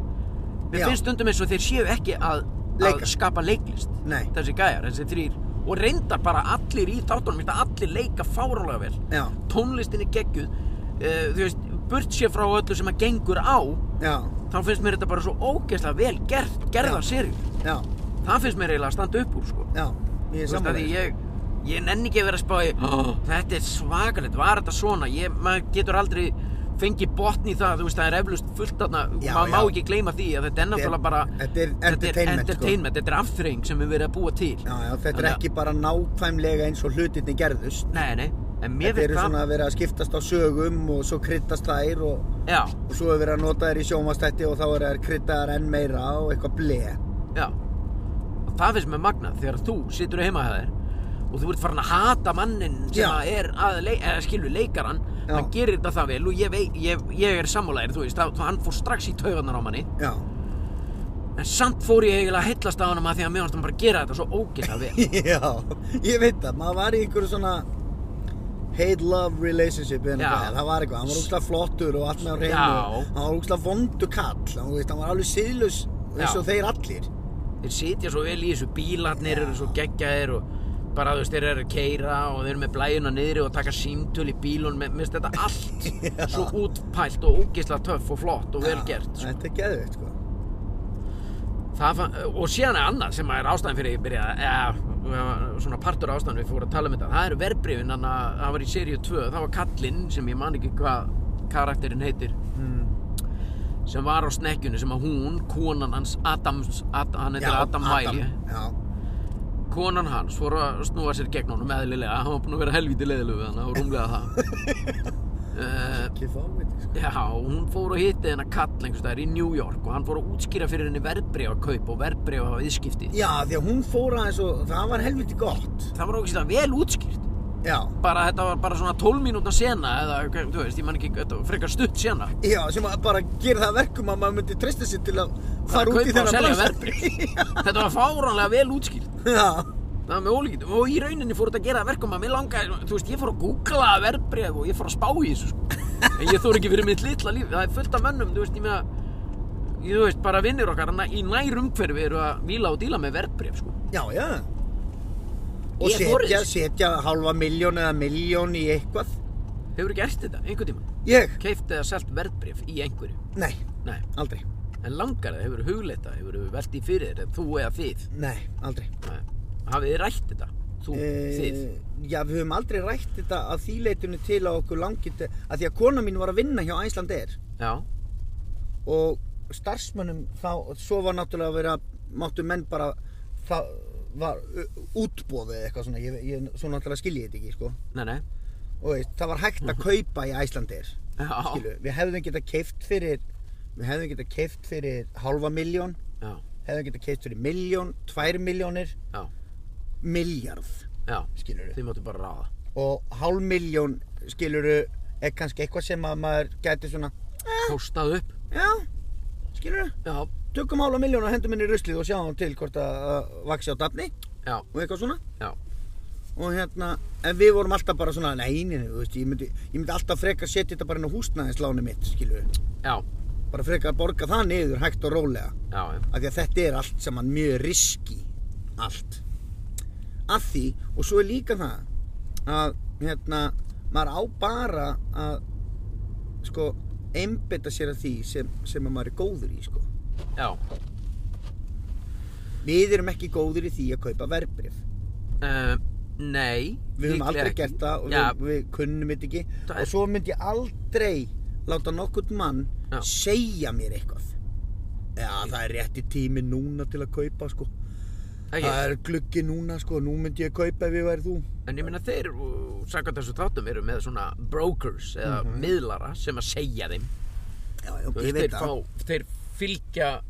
S1: mér
S2: Já.
S1: finnst stundum eins og þeir séu ekki að, að
S2: Leika.
S1: skapa leiklist
S2: Nei.
S1: þessi gæjar, þessi þrýr og reyndar bara allir í þáttunum mér finnst að allir leika fárálega vel
S2: já,
S1: tónlistin er geggjuð uh, þú veist, burt sér frá öllu sem að gengur á
S2: já,
S1: þá finnst mér þetta bara svo ógeðslega vel gert, gerða
S2: Já.
S1: serið
S2: já,
S1: það finnst mér eiginlega að standa upp úr sko.
S2: já, ég Ah. er
S1: Þú veist, af því
S2: samanlega.
S1: ég, ég nenni ekki að vera að spá í "Ó, þetta er svakalegt, var þetta svona ég, maður getur aldrei fengið botn í það, þú veist, það er eflust fullt þarna,
S2: Já,
S1: maður má
S2: já.
S1: ekki gleyma því að þetta er náttúrulega bara
S2: þetta er entertainment, sko.
S1: entertainment, þetta er afþreying sem við verið að búa til
S2: Já, já, þetta er
S1: Þannig að-
S2: ekki bara nákvæmlega eins og hlutinni gerðust.
S1: nei, nei, en mér
S2: Þetta
S1: finnst
S2: eru
S1: það
S2: svona að vera að skiptast á sögum og svo kryddast þær og,
S1: já,
S2: og svo er verið að nota þær í sjónvastætti og þá eru þær kryddaðar enn meira og eitthvað ble.
S1: já og það finnst mér magnað þegar þú situr heima hjá þér og þú ert farin að hata mannin sem
S2: Já.
S1: að er að leik, eða skilur leikaran
S2: Já.
S1: hann gerir þetta það vel og ég, vei, ég, ég er sammálaðir, þú veist, að, hann fór strax í taugarnar á manni
S2: Já,
S1: En samt fór ég eiginlega að hillast á honum að því að mér varst hann bara að gera þetta svo ógeðslega vel.
S2: já, ég veit það, maður var í einhverju svona hate-love relationship við
S1: Já.
S2: hennar það var eitthvað, hann var úkslega flottur og allt með á reynu
S1: Já.
S2: hann var úkslega vondu kall, hann, þú veist, hann var alveg siðlaus eins
S1: Já.
S2: og þeir allir.
S1: Þeir sitja svo vel í þessu, bílarnir
S2: Já.
S1: eru svo geggjaðir og bara þú veist, þeir eru að keira og þeir eru með blæjuna niðri og taka símtöl í bílun með, minnst þetta allt svo útpælt og ógeðslega töff og flott og vel gert.
S2: Já,
S1: Sko.
S2: Þetta er geðvitt, sko.
S1: Það, fann- og síðan er annað sem er ástæðan fyrir ég byrjaði, eða svona partur ástæðan við fórum að tala um þetta. Það eru verbrifin, þannig að það var í seríu 2, það var kallinn sem ég man ekki hvað karakterinn heitir.
S2: Mm.
S1: sem var á snekkjunni sem að hún, konan hans Adams, Ad, hann heitir Adam Wiley
S2: Já,
S1: konan hans fór að snúa sér gegn honum eðlilega, hann var búinn að vera helvítið leiðilegu við hann og rúmlega það uh,
S2: ekki fáviti, sko.
S1: já, hún fór að hitta hennar kall einhvers staðar í New York og hann fór að útskýra fyrir henni verbreyfa kaup og verbreyfa viðskipti
S2: Já, því að hún fór aðeins og það var helviti gott.
S1: það var ógæslega vel útskýrt
S2: Já,
S1: bara þetta var bara svona 12 mínútna sena eða, hvað- þú veist, ég man ekki, þetta var frekar stutt sena
S2: já, sem að bara gera það að verkum að maður myndi treysta sér til að
S1: að
S2: fara
S1: kaupa og
S2: út í þennan
S1: selja
S2: bransa.
S1: verbreyf þetta var fáránlega vel útskýrt
S2: Já,
S1: Það var með ólíkindum og í rauninni fór þetta að gera það verkum að mér langaði, þú veist, ég fór að googla verbreyf og ég fór að spá í þessu, sko. En ég þór ekki fyrir mitt litla líf, það er fullt af mönnum, þú veist, ég með að, ég, þú veist, bara vinnir okkar, hann í nær umhverfi eru að víla og díla með verbreyf, sko.
S2: já, já. Og
S1: Ég fór
S2: setja,
S1: þessu.
S2: setja halva miljón eða miljón í eitthvað.
S1: Hefur gert þetta einhvern tíma?
S2: Ég?
S1: Keift eða selt verbreyf í einhverju?
S2: Nei,
S1: Nei.
S2: aldrei.
S1: En langar það, hefur hugleita, hefur velt í fyrir þér, þú eða þið?
S2: Nei, aldrei.
S1: Nei. Hafið þið rætt þetta? Þú, þið?
S2: Eh, Já, við höfum aldrei rætt þetta að því leytinu til að okkur langið, að því að kona mín var að vinna hjá Æsland Air.
S1: Já.
S2: og starfsmönnum þá, svo var náttúrulega að vera máttu menn bara það var útbóðið eitthvað svona ég, ég, svo náttúrulega skilji ég þetta ekki sko.
S1: Nei, nei.
S2: og veist, það var hægt að kaupa í Æslandir
S1: Já.
S2: skilu, við hefðum getað keift fyrir við hefðum getað keift fyrir halva miljón
S1: Já.
S2: hefðum getað keift fyrir miljón, tvær miljónir
S1: Já.
S2: miljarð
S1: Já.
S2: skilur
S1: Þið máttu bara ráða.
S2: og hálf miljón skilur er kannski eitthvað sem að maður gæti svona "Eh,
S1: Hóstað upp.
S2: já, skilur
S1: Já.
S2: tökum hálfa miljón og hendum henni í ruslið og sjáum til hvort að að vaxi á dafni
S1: Já,
S2: og eitthvað svona
S1: já,
S2: og hérna, en við vorum alltaf bara svona neini, þú veist, ég myndi, ég myndi alltaf frekar setja þetta bara inn á húsnæðisláni mitt skilur
S1: já,
S2: bara frekar að borga það niður hægt og rólega
S1: já, já,
S2: af því að þetta er allt saman mjög riski allt af því, og svo er líka það að, hérna maður á bara að sko, einbetta sér að því sem, sem að maður er góður í, sko
S1: já.
S2: Við erum ekki góðir í því að kaupa verbrif.
S1: Uh, nei,
S2: Við höfum
S1: líklega
S2: aldrei
S1: ekki.
S2: gert það og
S1: já,
S2: við, við kunnum þetta ekki.
S1: Það
S2: Og
S1: er-
S2: svo myndi ég aldrei láta nokkurn mann
S1: Já.
S2: segja mér eitthvað. Já, það er rétti tími núna til að kaupa, sko.
S1: ekki.
S2: Það er gluggi núna, sko. Nú myndi ég kaupa ef ég væri þú.
S1: En ég minna þeir, sagði þessu þáttum, eru með svona brokers eða miðlara sem að segja þeim.
S2: Já,
S1: Þú
S2: já, Mhm. ég
S1: veist,
S2: veit
S1: þeir,
S2: það.
S1: fá, þeir fylgja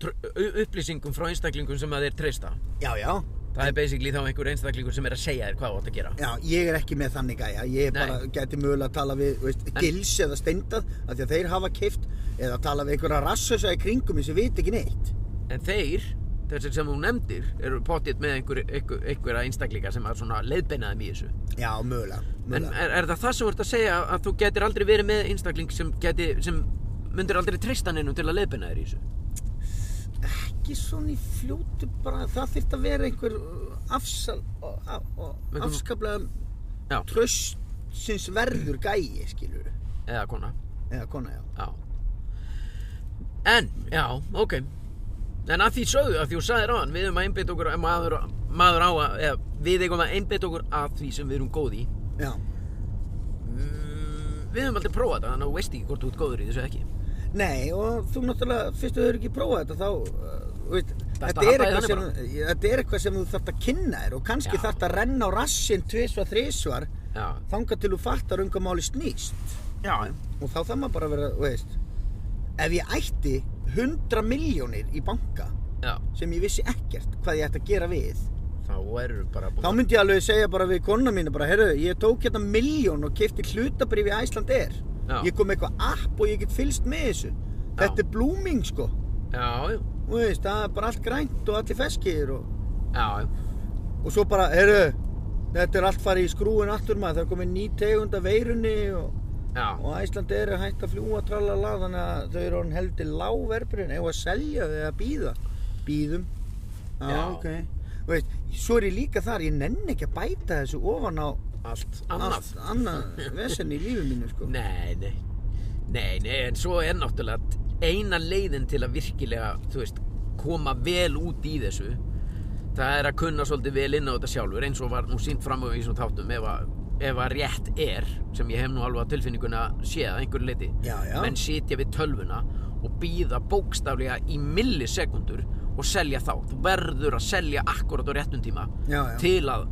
S1: tr- u- upplýsingum frá einstaklingum sem að þeir treysta.
S2: Já, já.
S1: Það er basically þá einhver einstaklingur sem er að segja þér hvað þú átt að gera.
S2: Já, ég er ekki með þannig gæja. Ég er
S1: Nei.
S2: bara gæti mögulega að tala við, þú veist, gils eða steindað af því að þeir hafa keift eða tala við einhverja rassösa í kringum sem veit ekki neitt.
S1: En þeir, þessir sem þú nefndir, eru pottitt með einhver, einhver, einhverja einstaklinga sem að svona leiðbeinaðum í þessu.
S2: Já, mögulega,
S1: En
S2: mögulega.
S1: er, er það það sem þú ert að segja að þú getur aldrei verið með einstakling sem, geti, sem myndir aldrei treysta neinum til að leiðbeina þér í þessu?
S2: Ekki svona í fljótu bara, það þyrft að vera einhver uh, afsal, og, og,
S1: Einhver-
S2: afskaplega
S1: Já.
S2: tröstsins verður gæi, skilur
S1: Eða kona,
S2: Eða kona, já.
S1: já. En, já, ok. En að því sögðu, að því þú sagðir á hann, við erum að einbytta okkur, að maður, maður á að, eða við eigum að einbytta okkur að því sem við erum góð í.
S2: Já.
S1: Mm, við höfum aldrei prófað þetta, þannig að þú veist ekki hvort þú ert góður í þessu eða ekki.
S2: Nei, og þú náttúrulega, fyrst þú hefur ekki prófað þetta, þá, uh, þú veit,
S1: að labba í
S2: þetta er, eitthvað
S1: þannig
S2: sem, þetta er eitthvað sem þú þarft að kynna þér og kannski
S1: Já.
S2: þarft að renna á rassinn tvisvar, þrisvar,
S1: Já,
S2: þanga til þú fattar um hvað máli snýst.
S1: já, já.
S2: Og þá þarf maður bara að vera, þú veist, ef ég ætti 100 miljónir í banka
S1: Já,
S2: sem ég vissi ekkert hvað ég ætti að gera við,
S1: þá erum við bara búin
S2: þá myndi ég alveg segja bara við konuna mína bara, heyrðu, ég tók hérna miljón og kefti hlutabrif í Æsland Air.
S1: Já.
S2: Ég kom með eitthvað app og ég get fylst með þessu.
S1: Já.
S2: Þetta er blooming, sko.
S1: Já, já,
S2: Þú veist, það er bara allt grænt og allir feskir og,
S1: já, já.
S2: og svo bara, heyrðu, þetta er allt farið í skrúin aftur maður, það er komið ný tegund af veirunni og,
S1: Já,
S2: og Æslandi er hægt að fljúa tralala þannig að þau eru hann heldur lágverbrinn eða að selja þau að býða býðum já,
S1: Já.
S2: ok Þú veist, svo er ég líka þar, ég nenn ekki að bæta þessu ofan á
S1: allt annað.
S2: allt annað vesen í lífi mínu sko
S1: Nei, nei. Nei, nei, en svo er náttúrulega eina leiðin til að virkilega, þú veist, koma vel út í þessu. Það er að kunna svolítið vel inn á þetta sjálfur, eins og var nú sínt fram á í svona þáttum, ef að, ef að rétt er, sem ég hef nú alveg á tilfinninguna séð að einhverju leiti.
S2: Já, já.
S1: Menn sitja við tölvuna og býða bókstaflega í millisekundur og selja þá. Þú verður að selja akkurat á réttum tíma
S2: Já, já.
S1: til að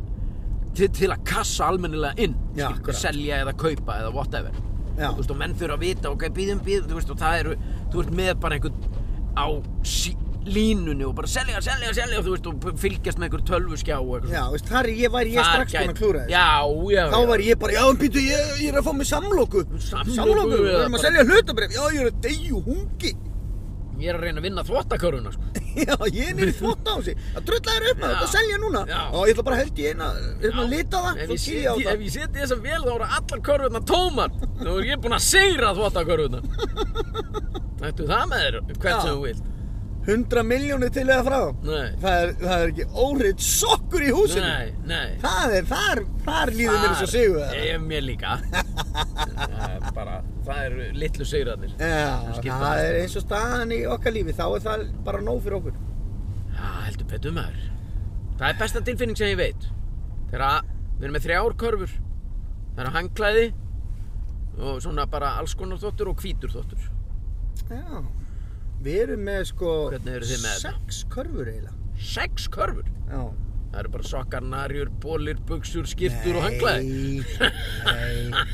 S1: til, til að kassa almennilega inn
S2: Já,
S1: skilur,
S2: akkurat.
S1: selja eða kaupa eða whatever
S2: Já.
S1: þú veist og menn fyrir að vita ok, býðum, býðum, þú veist og það eru þú ert með bara einhvern á sí, línunni og bara selja, selja, selja þú veist og fylgjast með einhver tölvuskjá og eitthvað
S2: já, þú veist, þar er ég væri ég strax búin að klúra þessu
S1: þessu já, já,
S2: Þá
S1: já.
S2: var ég bara, já, en býtu, ég, ég er að fá mig samloku.
S1: Samloku,
S2: Samloku, við
S1: eða
S2: erum að
S1: bara-
S2: selja hlutabref. Já, ég er að deyju hungi.
S1: ég er að reyna að vinna þvottaköruna sko.
S2: Já, ég er nýri þvótt á þessi. Það drulla þér upp með
S1: Já.
S2: þetta að selja núna.
S1: Já.
S2: Já, ég ætla bara að held ég inn að, hérna,
S1: Já.
S2: lita það,
S1: ef
S2: svo
S1: ég
S2: kýr ég á
S1: setji- ef
S2: það.
S1: ég seti þessa vel þá eru allar körfurna tómar þá er ég búin að segra þvottaköruna ættu það með þér
S2: Já.
S1: hvert sem þú vilt
S2: 100 miljónir til eða frá.
S1: Nei.
S2: Það er, það er ekki óreitt sokkur í húsinu.
S1: nei, nei
S2: Það er, þar, þar líður mér eins og
S1: Þar-
S2: sigur
S1: Ég mér líka Það er bara, það eru litlu sigurarnir
S2: Já,
S1: skipta
S2: það
S1: allt.
S2: er eins og staðan í okkar lífi, þá er það bara nóg fyrir okkur.
S1: Já, heldur betur maður Það er besta tilfinning sem ég veit Þegar að við erum með þrjár körfur Það eru hangklæði og svona bara alls konar þóttur og hvítur þóttur
S2: Já, við erum með sko
S1: Hvernig eruð þið með þetta?
S2: sex körfur eiginlega.
S1: Sex körfur
S2: Já.
S1: Það eru bara sokkar, narjur, bólir, buksur, skirtur og hangklæði
S2: Nei, nei.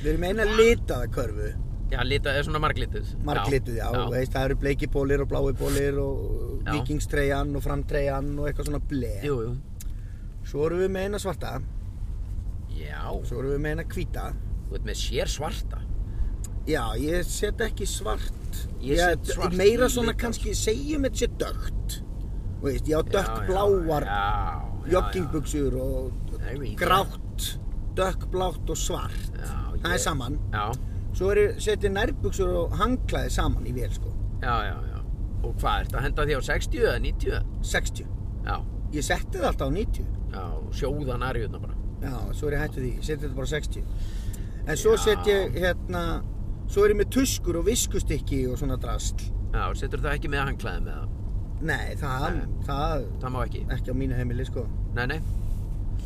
S2: Við erum eina litaða körfu,
S1: Já, lita, eða svona marglitið
S2: marglituð, já, Veist, það eru bleikibólir og bláibólir og
S1: Já.
S2: vikingstreyjan og framtreyjan og eitthvað svona ble.
S1: Jú, jú
S2: Svo erum við með eina svarta,
S1: Já,
S2: svo erum við með eina hvíta.
S1: þú veit með sér svarta
S2: Já, ég set ekki svart.
S1: Ég set svart
S2: Meira
S1: í
S2: svona
S1: lita.
S2: kannski, segjum þetta sé dögt. Veist, ég á
S1: Já,
S2: dögt
S1: já,
S2: bláar
S1: já, já, já.
S2: joggingbuxur og
S1: Nei, við-
S2: grátt, dökkblátt og svart.
S1: Já,
S2: Það er
S1: ég-
S2: saman.
S1: Já,
S2: Svo er setið nærbuksur og hangklæði saman í vél sko
S1: já, já, já. Og hvað, ertu að henda því á 60 eða 90?
S2: 60
S1: Já,
S2: Ég setti það alltaf á 90
S1: já, sjóða nærjuna bara.
S2: Já, svo er ég hættu því, ég seti þetta bara á 60 En svo
S1: Já.
S2: set ég hérna Svo er ég með tuskur og viskustykki og svona drasl
S1: Já, setur það ekki með hangklæði með það.
S2: Nei, það,
S1: Nei.
S2: það
S1: Það má ekki.
S2: ekki á mínu heimili sko
S1: Nei, nei,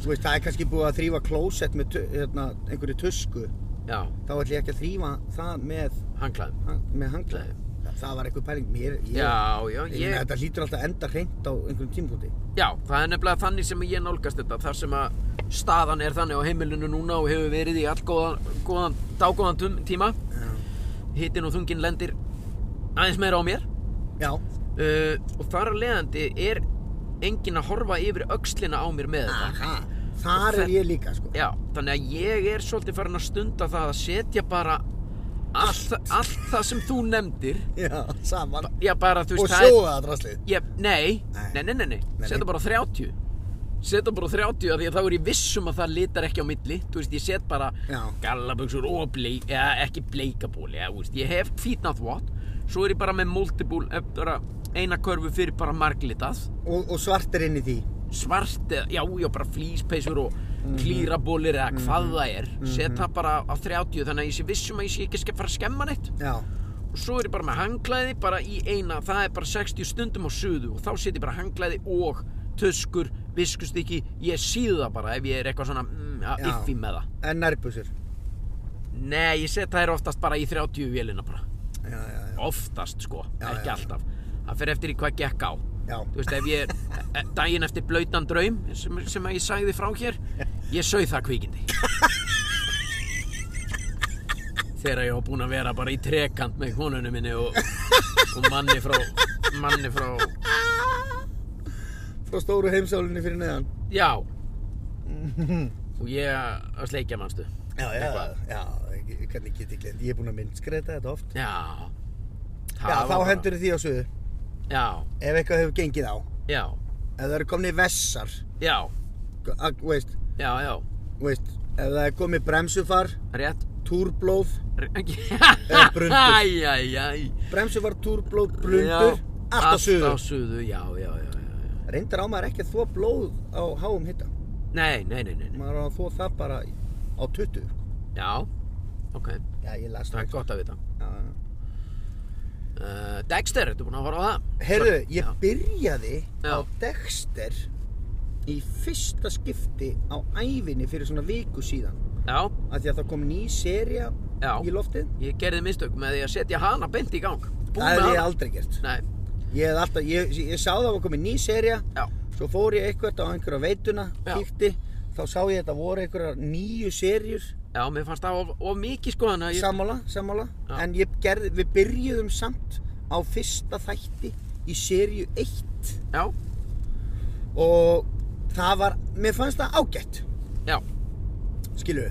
S2: Þú veist, það er kannski búið að þrýfa klósett með tu- hérna, einhverju tusku
S1: já,
S2: Þá ætlum ég ekki að þrýfa það með,
S1: hangklæðum.
S2: með hangklæði Það var eitthvað pæling mér ég,
S1: Já, já,
S2: ég, meina,
S1: ég,
S2: Þetta hlýtur alltaf að enda hreint á einhverjum tímpúti
S1: já, það er nefnilega þannig sem ég nálgast þetta. Þar sem að staðan er þannig á heimilinu núna og hefur verið í allt góðan, góðan, dágóðan tum- tíma.
S2: Já,
S1: Hittin og þungin lendir aðeins meira á mér.
S2: já.
S1: Uh, og þar að leiðandi er enginn að horfa yfir öxlina á mér með þetta.
S2: Aha, þar er ég líka sko
S1: Já, þannig að ég er svolítið farin að stunda það að setja bara allt, allt. allt það sem þú nefndir
S2: Já, saman
S1: Já, bara þú
S2: Og
S1: veist, það er-
S2: sjóða það draslið
S1: Ég, nei,
S2: Nei.
S1: nei, nei, nei, nei.
S2: Nei,
S1: setja
S2: nei.
S1: bara 30 setja bara 30 af því að þá er ég vissum að það litar ekki á milli þú veist, ég set bara
S2: Já.
S1: gallabuxur og bleik, eða ekki bleikaból eða, þú veist, ég hef hvítnáþvott svo er ég bara með multiple eh, bara eina körfu fyrir bara marglitað
S2: og, og svart er inn í því
S1: svart, eða, já, já, bara flýspeysur og
S2: Mhm.
S1: klírabólir eða hvað það er setja bara á 30 þannig að ég sé vissum að ég sé ekki að fara að skemma neitt
S2: Já,
S1: og svo er ég bara með hangklæði bara í eina, það er bara 60 stundum á suðu og þá set ég bara hangklæði og töskur, viskustykki ég síðu það bara ef ég er eitthvað svona mm, að
S2: Já.
S1: yffi með það
S2: en nærbusur
S1: nei, ég set þær oftast bara í 30 vélina bara,
S2: Já, já, já,
S1: oftast sko
S2: Já,
S1: ekki
S2: já.
S1: alltaf, það fer eftir í hvað gekk á
S2: já.
S1: þú veist, ef ég e- e- daginn eftir blautan draum sem, sem að ég sagði frá hér ég sauð það kvikindi þegar ég var búinn að vera bara í trekant með konunum minni og, og manni frá manni frá,
S2: Frá stóru heimsálinni fyrir neðan
S1: já og ég að sleikja mannstu
S2: Já, já,
S1: Eitthvað.
S2: já, ekki- hvernig get ég glend Ég er búinn að myndskreita þetta oft
S1: já
S2: Já, þá
S1: var bara-
S2: hendur því á suðu
S1: já,
S2: Ef eitthvað hefur gengið á
S1: já,
S2: Ef það eru komni vessar
S1: já,
S2: að, Veist,
S1: já, já
S2: veist Ef það er komið bremsufar,
S1: rétt
S2: túrblóð
S1: Eða
S2: brundur.
S1: Æj, æj, æj
S2: Bremsufar, túrblóð, blundur Allt á suðu
S1: Allt á suðu, já, já, já, já, já.
S2: Reyndar á maður ekki að þvó blóð á háum hitta
S1: Nei, nei, nei, nei, nei.
S2: Maður á að þvó það bara í- á 20
S1: Já, ok,
S2: Já, ég las
S1: það er
S2: það
S1: gott að vita
S2: Já, já.
S1: uh, Dexter, ertu búin að horfa á það?
S2: Heyrðu,
S1: Svo-
S2: ég
S1: Já,
S2: byrjaði
S1: Já.
S2: á Dexter í fyrsta skipti á ævinni fyrir svona viku síðan
S1: já,
S2: af því að það kom ný seria
S1: já.
S2: í
S1: Ég,
S2: loftið
S1: gerði mistök með því að setja hana beint í gang Búið
S2: Það
S1: með
S2: hef ég
S1: hana.
S2: aldrei gert
S1: Nei,
S2: Ég, hef alltaf, ég, ég sá það var komið ný seria
S1: já,
S2: svo fór ég eitthvað á einhverja veituna
S1: Já.
S2: kíkti, þá sá ég þetta voru einhverjar nýju serjur
S1: já, mér fannst það of, of mikið sko hana ég,
S2: sammála, sammála
S1: Já.
S2: en ég gerði, við byrjuðum samt á fyrsta þætti í serju 1
S1: Já,
S2: og það var, mér fannst það ágætt
S1: já,
S2: skilu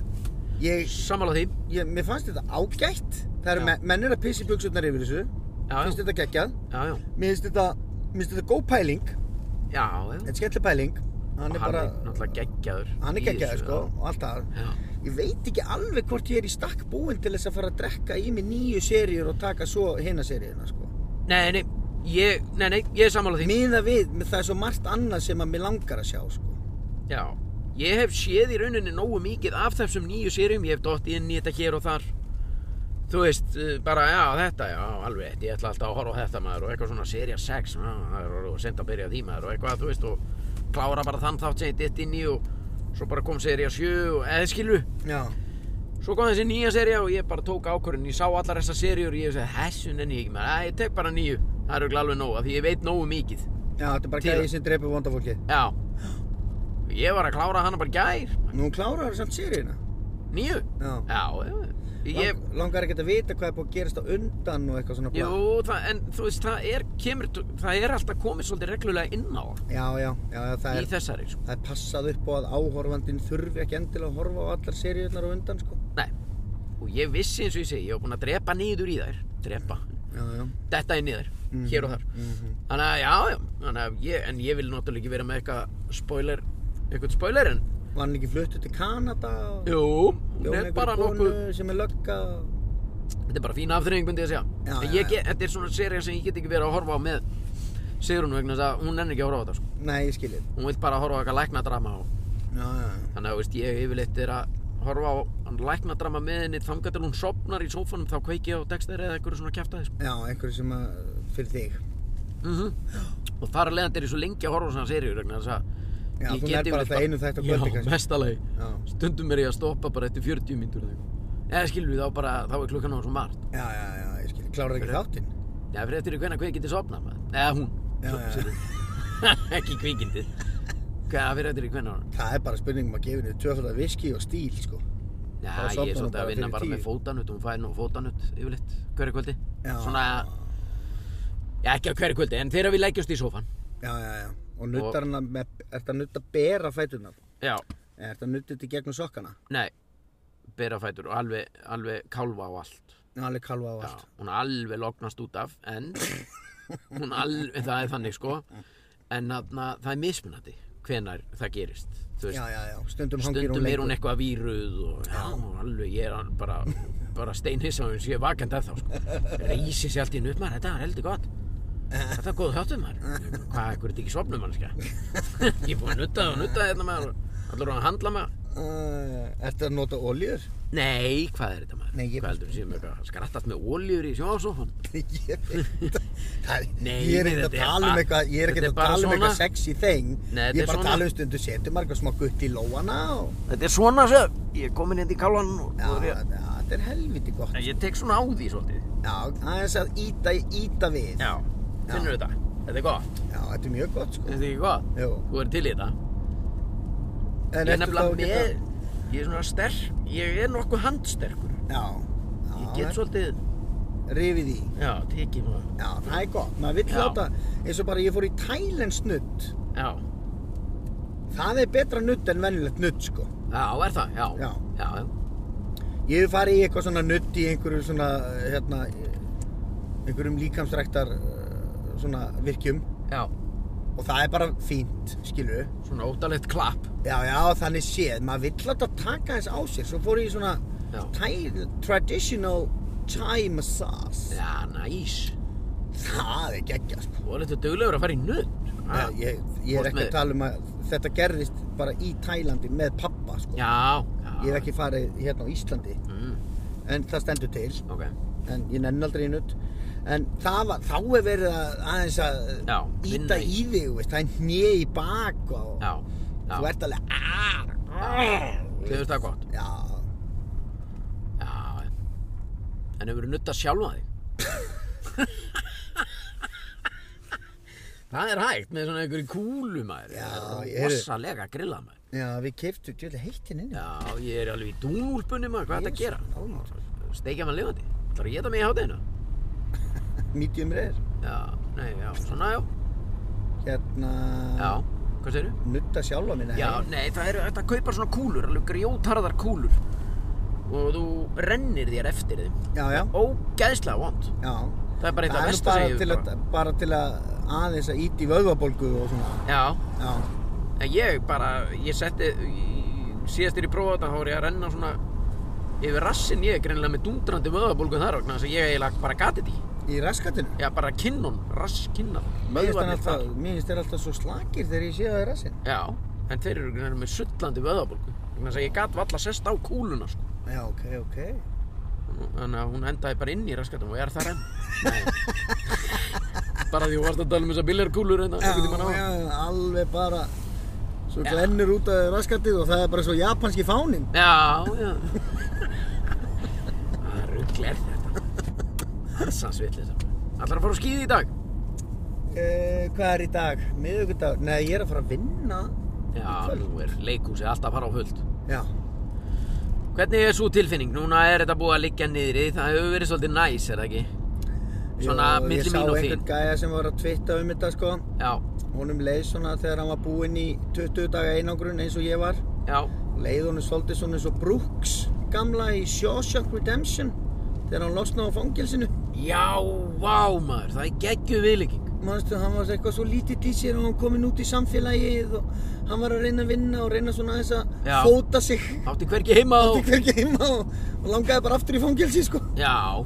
S2: ég,
S1: sammála því
S2: ég, mér fannst þetta ágætt það eru
S1: Já.
S2: me- menn er að pissi buksutnar yfir þessu
S1: Já,
S2: finnst
S1: já,
S2: þetta geggjað
S1: já, já,
S2: mér finnst þetta, mér finnst þetta góð pæling
S1: já, já.
S2: þetta er skemmtileg pæling hann
S1: Og
S2: er bara,
S1: náttúrulega geggjaður
S2: hann
S1: í
S2: er geggjaður
S1: þessu,
S2: sko og allt það
S1: Já,
S2: ég veit ekki alveg hvort ég er í stakk búinn til þess að fara að drekka í mig nýju seríur og taka svo hina seríuna sko
S1: nei, nei, ég, nei, nei, ég er sammála því
S2: miða við, það er svo margt annað sem að mér langar að sjá sko
S1: Já, ég hef séð í rauninni nógu mikið af þessum nýju sérium, ég hef dótt inn í þetta hér og þar Þú veist, eh, bara, já, þetta, já, alveg, rétt, ég ætla alltaf að horfa á þetta maður og eitthvað svona seria 6, já, það er orðið sent að byrja á því maður og eitthvað, þú veist, og klára bara þann þátt sem ég ditt inn í og svo bara kom seria 7 og eða skilu
S2: já,
S1: Svo kom þessi nýja seria og ég bara tók ákvörðin, ég sá allar þessar seriur og ég hef segið, þessu nenni ég ekki maður, að ég tek bara nýju, það er örugglega alveg nóg, af því ég veit nógu mikið
S2: já, þetta er bara
S1: Til-
S2: gæði sem dreipur vondafólki
S1: Já, ég var að klára hana bara í gær,
S2: nú klárar það samt seríuna
S1: nýju
S2: já,
S1: Já, já, ég,
S2: Lang, langar ekki að vita hvað er búið að gerast á undan og eitthvað svona plan.
S1: jú, það, en þú veist, það er, kemur, það er alltaf komið svolítið reglulega inn á það
S2: já, já, já, já, það
S1: í
S2: er,
S1: þessari, sko.
S2: það er passað upp á að áhorfandin þurfi ekki endilega að horfa á allar seríurnar á undan sko
S1: Nei, og ég vissi eins og ég segi, ég var búinn að drepa niður í þær, drepa,
S2: já, já,
S1: detta inn í þær, hér og þar.
S2: mhm.
S1: Þannig að, já, já, þannig að ég, en ég vil náttúrulega ekki vera með eitthvað spoiler, eitthvað spoiler, en,
S2: var hann ekki fluttu til Kanada og...
S1: jú, hún er bara nokkuð,
S2: sem er lögga
S1: þetta er bara fína afþreying, myndi ég að segja.
S2: Já,
S1: En
S2: já,
S1: ég get, þetta er svona serið sem ég get ekki verið að horfa á með Sigrun vegna þess að hún nenni ekki að horfa á þetta, sko.
S2: Nei, ég skil þið
S1: Hún vil bara horfa á eitthvað læknadrama og
S2: Já, já,
S1: Þannig að þú veist, ég yfirleitt er að horfa á hann læknadrama með henni þangað til hún sopnar í sófanum þá kveiki ég á Dexter eða einhverju svona kjæftaði sko.
S2: já, einhverju sem að fyrir þig
S1: mm
S2: Mhm.
S1: og þar að leiðandi er ég svo lengi að horfa á svona seriur vegna þess að
S2: Já,
S1: ég
S2: þú
S1: get
S2: nær bara
S1: yfirleitt
S2: það einu þætti á kvöldi
S1: Já,
S2: kannski.
S1: mestalagi
S2: Já,
S1: Stundum er ég að stoppa bara eftir 40 mínútur eða eitthvað Eða skilur við þá bara, þá er klukkan á svo margt
S2: já, já, já, ég skil Klárar ekki þáttinn
S1: Já, fyrir eftir hvenna hvað getið sopnað maður Eða hún
S2: Já, já.
S1: já Ekki kvikindið Hvað fyrir eftir hvenna hún
S2: Það er bara spurning um að gefa henni tvöfaldar viski og stíl, sko
S1: Já,
S2: Þá sofnar
S1: ég er
S2: hún
S1: svolítið
S2: bara
S1: að vinna
S2: fyrir
S1: bara með
S2: tíu.
S1: fótanut Hún fær nú fótanut yfirleitt hverju kvöldi
S2: Já.
S1: Svona Já, ekki á hverju kvöldi, en þegar við leggjumst í sófan
S2: Já, já, já Og nuttar hana með, ert að nutta bera fætunar
S1: Já,
S2: Ert að nutta þetta í gegnum sokkana
S1: nei Bera fætur og alveg, alveg kálfa á allt
S2: Já, Já, alveg kalva á
S1: Já,
S2: allt.
S1: hún alveg lognast út af en hún alveg, það er þannig sko en þarna, það er mismunandi hvenær það gerist þú
S2: Já,
S1: veist,
S2: já, já, stundum hangir
S1: stundum er hún
S2: lengur.
S1: eitthvað víruð og já, hún er alveg, ég er al- bara bara steinhissa og sé vakandi að þá sko. reysi sér allt í einu upp maður, þetta er heldur gott þetta er góð þáttum maður hvað, ekkur er þetta ekki svopnum mannskja ég er búin að nutta og nutta þetta maður allar hún að handla maður
S2: Uh, ertu að nota oljur?
S1: nei, hvað er þetta maður
S2: Nei, ég-
S1: hvað heldur við séum eitthvað, skrattast með oljur í sjónasófan
S2: ég veit það
S1: Nei,
S2: ég er ekkert að
S1: þetta er
S2: tala um
S1: bara-
S2: eitthvað ég er ekkert
S1: þetta
S2: að
S1: er bara
S2: tala um
S1: svona.
S2: eitthvað sexy thing
S1: Nei, þetta er
S2: ég er bara að
S1: svona.
S2: tala um stundu setur margar smá gutt í lóana og
S1: þetta er svona sér, ég er komin hérna í kálvan og,
S2: já,
S1: og
S2: já,
S1: ég,
S2: þetta er helviti gott
S1: en ég tek svona á því svolítið
S2: já, aðeins að íta, íta við já.
S1: finnur þetta, þetta er gott
S2: þetta er mjög gott sko
S1: þetta er ekki gott,
S2: Jú.
S1: þú er til í þetta
S2: en
S1: ég er
S2: ertu þá
S1: nefnilega
S2: að geta-
S1: með, ég er svona sterk, ég er nokkuð handsterkur.
S2: já, já,
S1: Ég get svolítið,
S2: rifið í
S1: já, tekið nú,
S2: já, það er gott, maður vill
S1: Já.
S2: láta eins og bara ég fór í Thailand snudd
S1: já,
S2: það er betra nudd en venjulegt nudd sko
S1: já, er það, já,
S2: Já.
S1: já,
S2: Ég hef farið í eitthvað svona nudd í einhverju svona, hérna, einhverjum líkamsræktar eh, svona virkjum
S1: já,
S2: og það er bara fínt, skilu.
S1: svona óttalegt klapp,
S2: Já, já, þannig séð, maður vill alltaf taka þess á sér. Svo fór ég í svona
S1: Já.
S2: thai, traditional Thai massage.
S1: já, næs,
S2: Það er geggja, sko.
S1: þú er þetta duglegur að fara í nudd, Ah.
S2: Já, ég, ég er
S1: Fórst
S2: ekki
S1: með-
S2: að tala um að þetta gerðist bara í Tælandi með pappa, sko.
S1: já, já,
S2: Ég hef ekki farið hérna á Íslandi,
S1: mm,
S2: en það stendur til.
S1: ok,
S2: en ég nenn aldrei í nudd en það var, þá er verið að aðeins að
S1: Já,
S2: íta
S1: vinna í.
S2: í þig þú veist, það er hnið í bak og
S1: já, já,
S2: þú ert alveg aaaah
S1: þau veist það gott,
S2: já,
S1: já, en hefur verið nudd að sjálfa þig. Það er hægt með svona einhverju kúlu maður,
S2: Já,
S1: það er
S2: ég er-
S1: rosalega grillað maður.
S2: já, við keftum djöðlega heitt hérna inni.
S1: Já, ég er alveg í dúnúlpunni maður, hvað er þetta
S2: Jesus,
S1: að
S2: almatur.
S1: gera? Steikja maður lifandi? Það er að geta mig í hátæðina?
S2: medium rare
S1: Já, nei, já, svona já.
S2: hérna,
S1: Já, hvað segirðu?
S2: nutta sjálfa minna
S1: Já, nei, það er hægt að kaupa svona kúlur, alveg grjótarðar kúlur. Og þú rennir þér eftir þeim.
S2: já, já,
S1: Ógeðslega vond.
S2: já.
S1: Það er bara eitt
S2: það
S1: af
S2: er nú
S1: versta
S2: bara
S1: sem ég
S2: til,
S1: hef
S2: að, bara til að aðeins að íta í vöðvabólgu og svona
S1: Já,
S2: já,
S1: en ég bara, ég setti, í- síðast þegar ég prófaði þetta, þá var ég að renna svona yfir rassin ég, er greinilega með dundrandi vöðabólgu þar vegna þess að ég eiginlega bara gati því.
S2: í raskatinu
S1: Já, bara kinnon, rass kinnan.
S2: mér finnst hann alltaf- mér finnst þér alltaf svo slakir þegar ég sé það í rassin
S1: Já, en þeir eru greinilega með sullandi vöðabólgu. Þannig að ég gat valla sest á kúluna, sko.
S2: já, ok, ok
S1: Þannig að hún endaði bara inn í raskatum og er það enn. Nei. bara því hún varst að tala um þessar biljarkúlur hérna.
S2: Já,
S1: einhvern tímann áðan.
S2: já, alveg bara svo
S1: Já.
S2: glennur út af raskatið og það er bara svo japanski fáninn
S1: Já, já. Það er ruggler þetta. Hansans vitleisa. Allar að fara á skíði í dag?
S2: uh, Hvað er í dag? Miðugudag? Nei, ég er að fara að vinna
S1: Já, nú er leikhúsið alltaf að fara á fullt.
S2: Já,
S1: Hvernig er svo tilfinning? Núna er þetta búið að liggja niðri, það hefur verið svolítið næs, er það ekki? Svona
S2: Jó,
S1: milli mín og
S2: Ég sá einhvern
S1: þín.
S2: gæja sem var að twitta um þetta sko
S1: Já,
S2: Honum leið svona þegar hann var búinn í 20 daga einangrun eins og ég var
S1: já,
S2: Leið honum svolítið svona eins og Brooks gamla í Shawshank Redemption þegar hann losnaði á fangilsinu
S1: já, vá maður, það er geggju viðlíking.
S2: Manstu, hann var eitthvað svo lítill í sér og hann kominn út í samfélagið og hann var að reyna að vinna og reyna svona aðeins að
S1: Já.
S2: fóta sig
S1: Átti hvergi heima
S2: átti
S1: og...
S2: hvergi heima og, og langaði bara aftur í fangelsi sko.
S1: Já,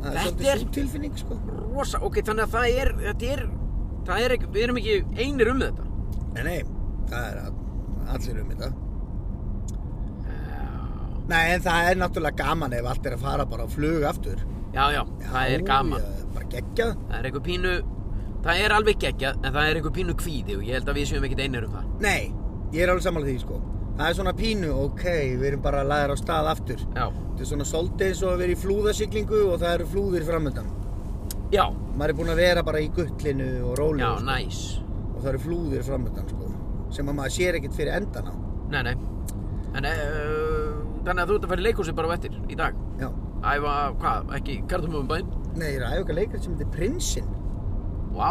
S2: Það
S1: Þetta
S2: er svolítið
S1: er-
S2: svo tilfinning sko.
S1: rosa, ok, þannig að það er, þetta er, það er ekki, við erum ekki einir um þetta.
S2: Nei, nei, það er að- allir um þetta.
S1: Já,
S2: Nei, en það er náttúrulega gaman ef allt er að fara bara á flug aftur.
S1: já, já, það er gaman.
S2: Já, bara geggjað.
S1: Það er einhver pínu, það er alveg geggjað, en það er einhver pínu kvíði og ég held að við séum ekkert einir um það.
S2: Nei, ég er alveg samanlega því sko. Það er svona pínu, ok, við erum bara að laðir á stað aftur.
S1: Já,
S2: Þetta er svona svolítið eins og að vera í flúðasiglingu og það eru flúðir framöndan.
S1: já,
S2: Maður er búinn að vera bara í guttlinu og rólinu
S1: já,
S2: sko.
S1: næs.
S2: og það eru flúðir framöndan sko. Sem að maður sér ekkert fyrir endan á.
S1: Nei, nei, en uh, þannig að þú ert að fara í leikhúsið bara á eftir í dag.
S2: Já.
S1: Æfa, hvað, ekki, kartumum um bæinn?
S2: Nei, ég er aðjóka leikrit sem heitir Prinsinn.
S1: Vá,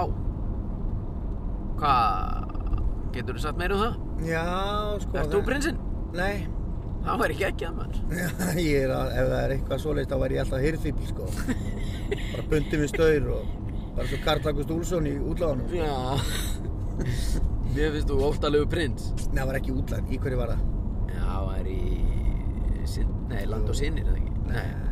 S1: hvað, getur þú sagt meira um það?
S2: Já, sko
S1: Ert þú
S2: það-
S1: prinsinn?
S2: Nei,
S1: þá er ekki ekki að maður
S2: ég er að, ef það er eitthvað svoleiðist þá væri ég alltaf hirðfíbl sko bara bundið við staur og bara svo Karl-August Úlfsson í útláðanum
S1: Já Mér finnst þú óttalegu prins
S2: Nei, það var ekki útláðan, í hverju var það?
S1: Já, það er í sin, Nei, land og sinir, eða ekki Nei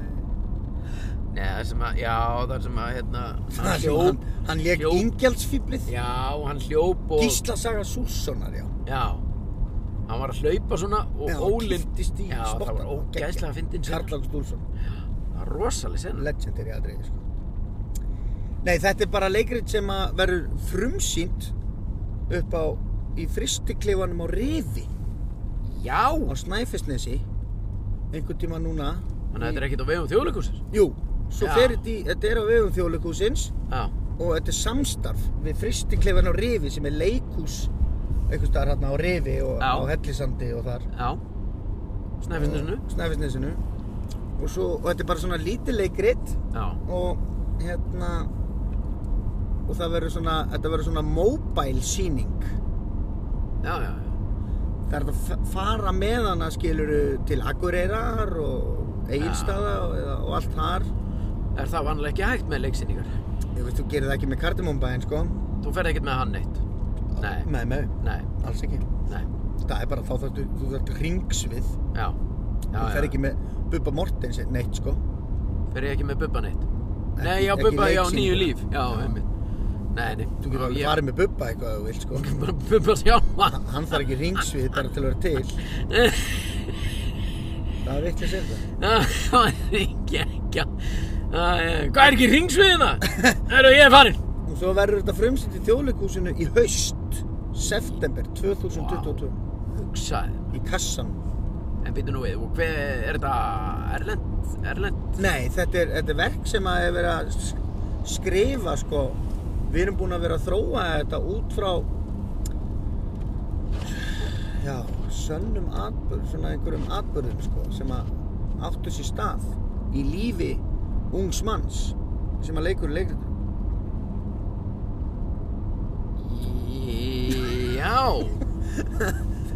S1: Nei, það sem að, já, það sem að, hérna
S2: Það sem hann, hann lék
S1: hljóp-
S2: ingjaldsfíblið
S1: Já, hann hljóp og
S2: Gísla Saga Sússonar, já
S1: Já Hann var að hlaupa svona og
S2: Já,
S1: ólinn
S2: kipptist í
S1: Já, það
S2: spottann,
S1: var ógæðslega
S2: geggjað.
S1: fyndin sena.
S2: Karl-August Úlfsson,
S1: Það var rosaleg sena
S2: legendary aðriði sko Nei, þetta er bara leikrit sem að verður frumsýnt upp á í fristikleifanum á Rifi
S1: Já
S2: á Snæfisnesi einhvern tíma núna
S1: Þannig að þetta er ekkert á vegum þjóðleikusins
S2: Jú, svo
S1: Já.
S2: fer þetta í, þetta er á vegum þjóðleikúsins
S1: Já
S2: og þetta er samstarf við fristiklefan á Rifi sem er leikús einhvers staðar hérna á Rifi og
S1: Já.
S2: á Hellisandi og þar
S1: Já Snæfinsnesnu
S2: Snæfisnesinu og, svo, og þetta er bara svona lítið leikrit
S1: Já
S2: og hérna og það verður svona, þetta verður svona mobile síning
S1: Já, já, já
S2: það er hægt að f- fara með hana skiluru til Akureyrar og Egilstaða og, eða- og allt þar
S1: Er það vanlega ekki hægt með leiksýningar?
S2: ég veist, þú gerir það ekki með kardimumbæðin sko
S1: Þú ferð ekkert með hann neitt Nei.
S2: nei, nei,
S1: Nei,
S2: alls ekki
S1: nei,
S2: það er bara þá þarftu, þú þarft ringsvið þú
S1: já Já, já,
S2: fer ekki með Bubba Mortens neitt sko
S1: fer ég ekki með Bubba neitt
S2: Ekki-
S1: Nei, já,
S2: ekki
S1: Bubba, já,
S2: leiksýningar.
S1: nýju líf Já, einmitt Nei, nei
S2: þú getur alveg farið með Bubba eitthvað ef þú vilt sko
S1: Bara Bubba sjálfa
S2: hann þarf ekki ringsvið bara til að vera til það er vitlega sér það
S1: Það er ekki ekki Það er- Hvað er ekki ringsviðina? Eru ég er farinn
S2: og svo verður þetta frumsýnt í þjóðleikúsinu í haust september 2022
S1: Hugsaði
S2: í kassan
S1: En býtu nú við, og hver er þetta Erlend? Erlend?
S2: nei, þetta er, þetta er verk sem að er verið að sk- skrifa sko við erum búin að vera að þróa þetta út frá já, sönnum atbyrð, svona einhverjum atbyrðum sko, sem að áttu sér stað í lífi ungs manns sem að leikur leikur
S1: Já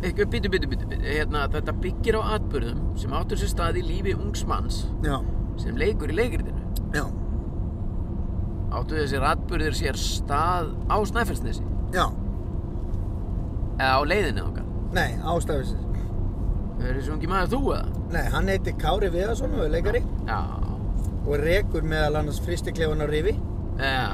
S1: Eitthvað, býtu, býtu, býtu, býtu Hérna, þetta byggir á atbyrðum sem áttur sér stað í lífi ungs manns
S2: já,
S1: sem leikur í leikritinu
S2: já,
S1: Áttu þessir atbyrðir sér stað á Snæfellsnesi
S2: já
S1: eða á leiðinni þangað
S2: nei, ástafisins
S1: Er þessi ungi maður þú eða?
S2: nei, hann heiti Kári Viðarsson og er leikari
S1: Já
S2: og rekur meðal annars fristiklefan á rifi
S1: Já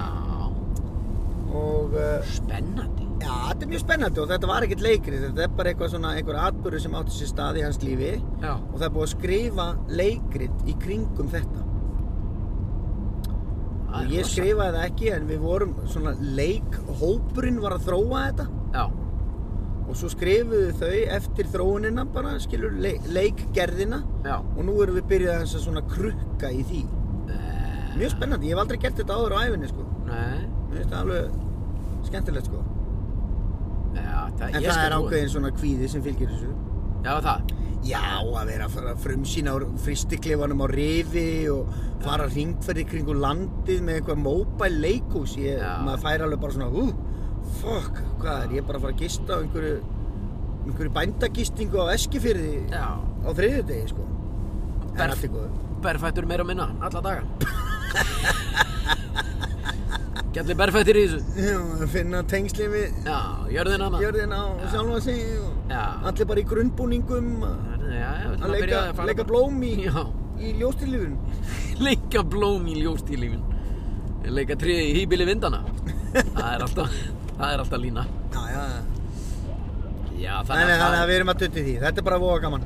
S2: og uh,
S1: Spennandi
S2: já, þetta er mjög spennandi og þetta var ekkert leikrið þetta er bara eitthvað svona, einhver atbyrður sem átti sér stað í hans lífi
S1: Já
S2: og það er búið að skrifa leikrið í kringum þetta
S1: það
S2: og
S1: er
S2: ég
S1: rosa.
S2: skrifaði það ekki en við vorum svona leikhópurinn var að þróa þetta
S1: Já
S2: og svo skrifuðu þau eftir þróunina bara, skilur, leik, leikgerðina
S1: Já
S2: og nú erum við byrjað að svona krukka í því
S1: Eh,
S2: mjög spennandi, ég hef aldrei gert þetta áður á æfinni sko.
S1: Nei
S2: mér finnst það alveg skemmtilegt sko.
S1: Já, það,
S2: En
S1: ég
S2: það
S1: skal trúa
S2: er
S1: því.
S2: ákveðin svona kvíði sem fylgir þessu.
S1: Já, það
S2: Já, að vera að fara að frumsýna á fristikleifanum á rifi og fara hringferði kringu landið með eitthvað mobile leikús. Ég,
S1: Já.
S2: maður fær alveg bara svona, uh, fuck, hvað er, ég er bara að fara að gista á einhverju, einhverju bændagistingu á Eskifyrði
S1: Já
S2: á þriðjudegi, sko. En
S1: Berf.
S2: allt í góðu.
S1: Berfættur meira og minna, alla daga Gjallir berfættir í þessu
S2: Já, að finna tengslið við
S1: Já, jörðin hana
S2: jörðina og sjálfa sig og
S1: Já
S2: allir bara í grunnbúningum að
S1: Herðu, Já, já, við ætlum
S2: að
S1: að byrja
S2: leika,
S1: að fara
S2: leika
S1: bara-
S2: blóm í,
S1: Já,
S2: í ljóstillífun.
S1: leika blóm í ljóst í lífin Leika tré í hýbili vindana Það er alltaf, það er alltaf lína
S2: Já, já, já.
S1: Já,
S2: Nei, nei,
S1: þannig
S2: þannig að við erum að tutti því. Þetta er bara voga gaman.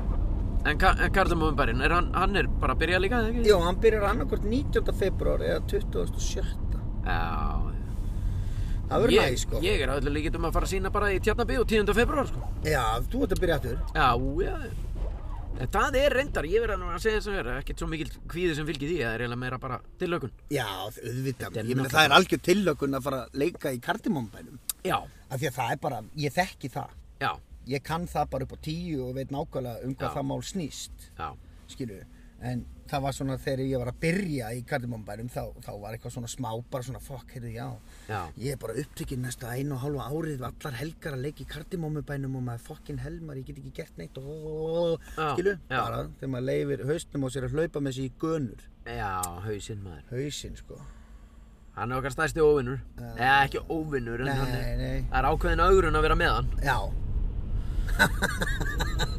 S1: En, Ka- en Karlumumberinn, er hann, hann er bara að byrja líka, eða ekki?
S2: Jó, hann byrjar annarkvort 19. februar eða 27.
S1: Já
S2: Það verður
S1: Ég-
S2: næg, sko.
S1: Ég er að öllu líkitum að fara að sína bara í Tjarnabíu 10. februar, sko
S2: Já, þú ert að byrja aftur.
S1: Já, já En það er reyndar, ég verða nú að segja þess að vera ekkert svo mikil kvíði sem fylgir því, það er eiginlega meira bara tilökun
S2: Já, auðvitað.
S1: Þetta er
S2: Ég meina,
S1: náttúrulega-
S2: það er algjör tillökun að fara að leika í kardimumbænum.
S1: Já,
S2: Af því að það er bara, ég þekki það.
S1: já,
S2: Ég kann það bara upp á tíu og veit nákvæmlega um hvað
S1: Já.
S2: það mál snýst,
S1: já,
S2: skilju. en það var svona þegar ég var að byrja í kardimumbærum þá, þá var eitthvað svona smá bara svona fokk, heyrðu já
S1: Já.
S2: ég er bara upptekinn næsta einu og hálfa árið allar helgar að leika í kardimumbænum og maður fokkin helmar, ég get ekki gert neitt og
S1: Já,
S2: skilu,
S1: já.
S2: bara þegar maður leifir haustum á sér að hlaupa með sér í gönur
S1: Já, hausinn maður.
S2: hausinn sko
S1: Hann er okkar stærsti óvinnur.
S2: Já.
S1: Nei, ekki óvinnur, en hann
S2: nei,
S1: er...
S2: nei,
S1: Það er ákveðin augrun að vera með hann
S2: já,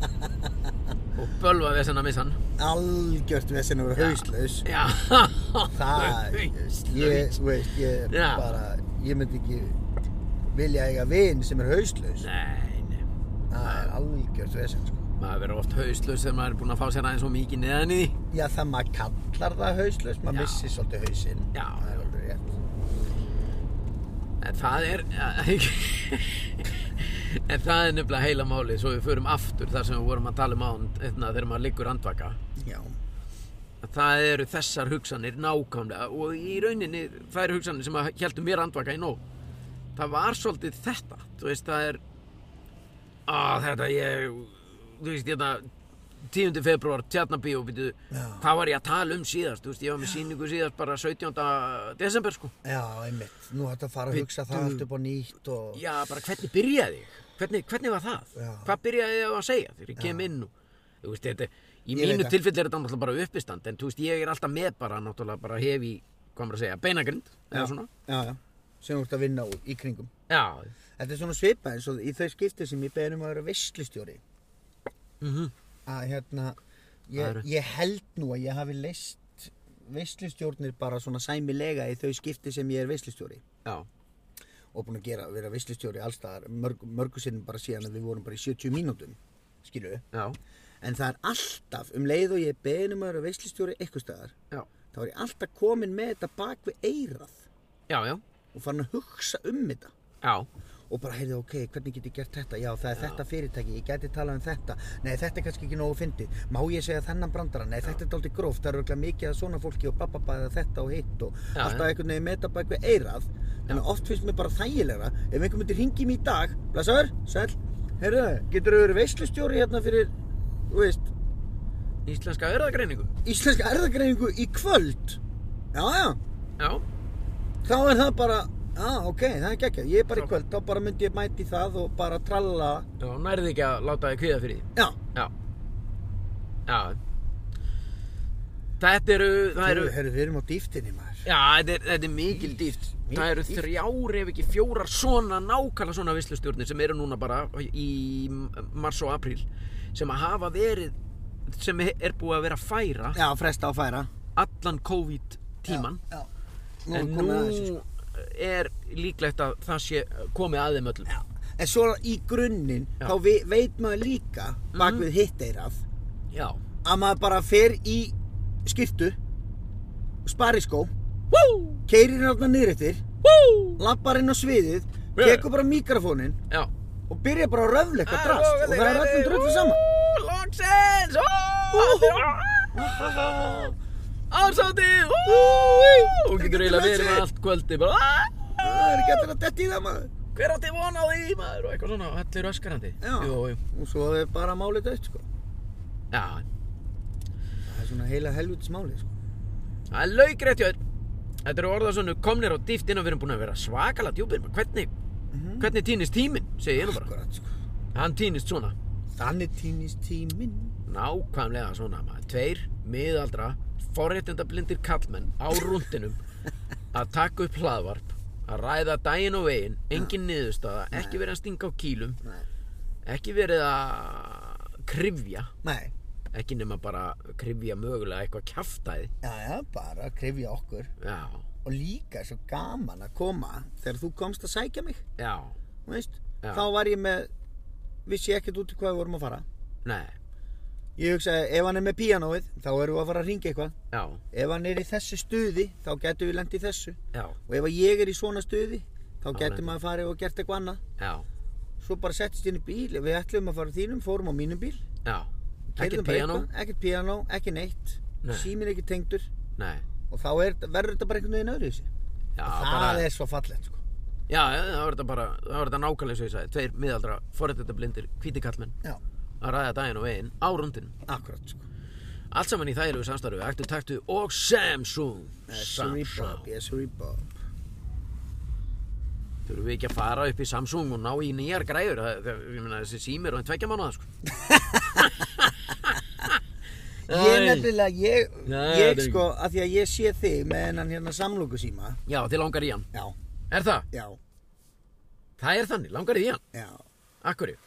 S1: og bölva við að missa hann.
S2: algjört vesen að vera hauslaus
S1: Já.
S2: það, ég, þú veist, ég er
S1: Já.
S2: bara, ég myndi ekki vilja eiga vin sem er hauslaus
S1: Nei, nei.
S2: það er algjört vesen sko.
S1: Maður verður oft hauslaus þegar maður er búinn að fá sér aðeins og mikið neðan í því.
S2: já það maður kallar það hauslaus
S1: Já.
S2: maður missir svolítið hausinn
S1: Já.
S2: það er alveg rétt
S1: En það er... en það er nefnilega heila málið, svo við förum aftur þar sem við vorum að tala um án, einna, þegar maður liggur andvaka.
S2: já,
S1: Að Það eru þessar hugsanir nákvæmlega og í rauninni þær hugsanir sem heldum mér andvaka í nóg. Það var svolítið þetta, þú veist, það er... Á, þetta ég... Þú veist, hérna... 10. februar, tjarnabíó, býtu,
S2: Já.
S1: hvað var ég að tala um síðast, þú veist, ég var með sýningu síðast bara 17. desember, sko.
S2: já, einmitt nú ætti að fara að hugsa það
S1: Bíddu.
S2: allt upp á nýtt og já,
S1: Já, bara hvernig byrjaði ég? Hvernig, hvernig var það?
S2: sko. Já.
S1: Hvað byrjaði ég á að segja þegar ég kem inn og þú veist, þetta, í
S2: Ég veit
S1: mínu
S2: það.
S1: tilfelli er þetta náttúrulega bara uppistand en þú veist, ég er alltaf með bara náttúrulega bara hef í, hvað maður að segja, beinagrind eða svona.
S2: já, sem þú ert að vinna úr í kringum
S1: Já,
S2: þetta er svona svipað eins og í þau skipti sem ég beðin um að vera veslustjóri
S1: mm
S2: Mhm. að hérna
S1: Það
S2: ég,
S1: eru-
S2: ég held nú að ég hafi leist veislustjórnir bara svona sæmilega í þau skipti sem ég er veislustjóri
S1: já,
S2: og búin að gera, vera veislustjóri allstaðar mörg, mörgu sinnum bara síðan að við vorum bara í 70 mínútum skilu,
S1: já,
S2: en það er alltaf um leið og ég er beðin um að vera veislustjóri eitthvað staðar,
S1: já,
S2: þá er ég alltaf komin með þetta bak við eirað
S1: já, já,
S2: og farin að hugsa um þetta
S1: já,
S2: og bara heyrðu ok, hvernig get ég gert þetta já, það er þetta fyrirtæki, ég geti talað um þetta nei, þetta er kannski ekki nógu fyndið má ég segja þennan brandara, nei, þetta er dálítið gróft það eru örugglega mikið að svona fólki og bababa eða þetta og hitt og
S1: Já,
S2: alltaf
S1: já.
S2: einhvern veginn meta bara eitthvað eirað en oft finnst mér bara þægilegra ef einhver myndir hringi mér í dag, blessaður, sæl heyrðu, getur þú verið veislustjóri hérna fyrir, þú veist
S1: íslenska erðagreiningu.
S2: íslenska erðagreiningu í kvöld já, já,
S1: Já,
S2: þá er það bara já, ok, það er geggjað, ég er bara í kvöld þá bara myndi ég mæti það og bara tralla
S1: já, nærði ekki að láta þig kviða fyrir því.
S2: já,
S1: Já, já. Þetta eru, það eru...
S2: Heru, heru, við erum á dýftinni maður
S1: Já, þetta er, þetta er mikil dýft.
S2: Mikil
S1: Það eru
S2: dýpt.
S1: þrjár ef ekki fjórar svona nákvæmlega svona vislustjórnir sem eru núna bara í mars og apríl sem að hafa verið, sem er búið að vera að færa
S2: Já, fresta og færa
S1: allan COVID tíman.
S2: Já, já. Nú er
S1: En
S2: komið að þessu, sko.
S1: nú er líklegt að það sé komið að þeim öllum.
S2: sko. En svo í grunninn
S1: Já. Mhm.
S2: þá vi, veit maður líka bak við hitt eirað
S1: Já.
S2: að maður bara fer í skirtu spariskó
S1: Vú!
S2: keirir hérna niður eftir
S1: Vú!
S2: lappar inn á sviðið
S1: Já.
S2: tekur bara mikrofóninn
S1: Já.
S2: og byrja bara að röfla eitthvað drast og það er öllum drullu saman
S1: Logsins!
S2: Úhú.
S1: Ásátti! Hún getur eiginlega verið með allt kvöldi bara
S2: Það er ekki allir að detti í það maður
S1: Hver átti von á því maður og eitthvað svona og allir öskarandi
S2: Já,
S1: Jú, jú.
S2: og svo er bara málið dött sko
S1: Já,
S2: Það er svona heila helvitis málið sko
S1: það er laukrétt hjá þér Þetta eru orðasönu komnir á dýft innan við erum búin að vera svakala djúpir maður. Hvernig,
S2: Mhm.
S1: hvernig týnist tíminn, segi ég nú bara
S2: Akkurat sko
S1: Hann týnist svona
S2: Þannig týnist tíminn
S1: Nákvæmlega svona maður Tveir miðaldra forréttindablindir kallmenn á rúndinum að taka upp hlaðvarp að ræða daginn og veginn engin niðurstaða, ekki verið að stinga á kýlum
S2: Nei,
S1: ekki verið að krifja
S2: Nei.
S1: ekki nema bara krifja mögulega eitthvað kjaftaði
S2: Já, já, bara að krifja okkur
S1: já,
S2: og líka er svo gaman að koma þegar þú komst að sækja mig
S1: já,
S2: þú veist,
S1: Já.
S2: þá var ég með vissi ég ekkert út í hvað við vorum að fara
S1: nei,
S2: ég hugsaði, ef hann er með píanóið þá erum við að fara að ringa eitthvað
S1: já,
S2: ef hann er í þessu stuði, þá getum við lent í þessu
S1: já,
S2: og ef að ég er í svona stuði þá
S1: Þá lendir-
S2: getum við að fara og gert eitthvað annað
S1: já,
S2: svo bara settist inn í bíl, við ætlum að fara á þínum fórum á mínum bíl,
S1: já ekki
S2: keyrðum bara
S1: piano,
S2: eitthvað, ekkert píanó, ekki neitt
S1: Nei.
S2: síminn ekki tengdur
S1: nei
S2: og þá er, verður þetta bara einhvern veginn öðru í sig
S1: já,
S2: það
S1: bara,
S2: er svo fallegt sko.
S1: já, já, það var þetta bara það var þetta nákvæmlega svo ég sagði, tveir miðaldra forréttindablindir hvíti kallmenn
S2: já,
S1: að ræða daginn og veginn á rúndinum
S2: akkurat sko.
S1: Allt saman í þægilegu samstarfi, ættu taktu og Samsung.
S2: Sorry Bob, yes, sorry Bob
S1: Þurfum við ekki að fara upp í Samsung og ná í nýjar græður? Það, það, ég meina, þessi símir og en tvekja mánuða, sko.
S2: Ég
S1: Æ.
S2: nefnilega, ég,
S1: Nei,
S2: ég
S1: drengur.
S2: sko, að því að ég sé þig með hennan hérna samlókusíma
S1: Já, þið langar í hann.
S2: Já,
S1: Er það?
S2: já,
S1: Það er þannig, langar í hann.
S2: já
S1: Akkurju.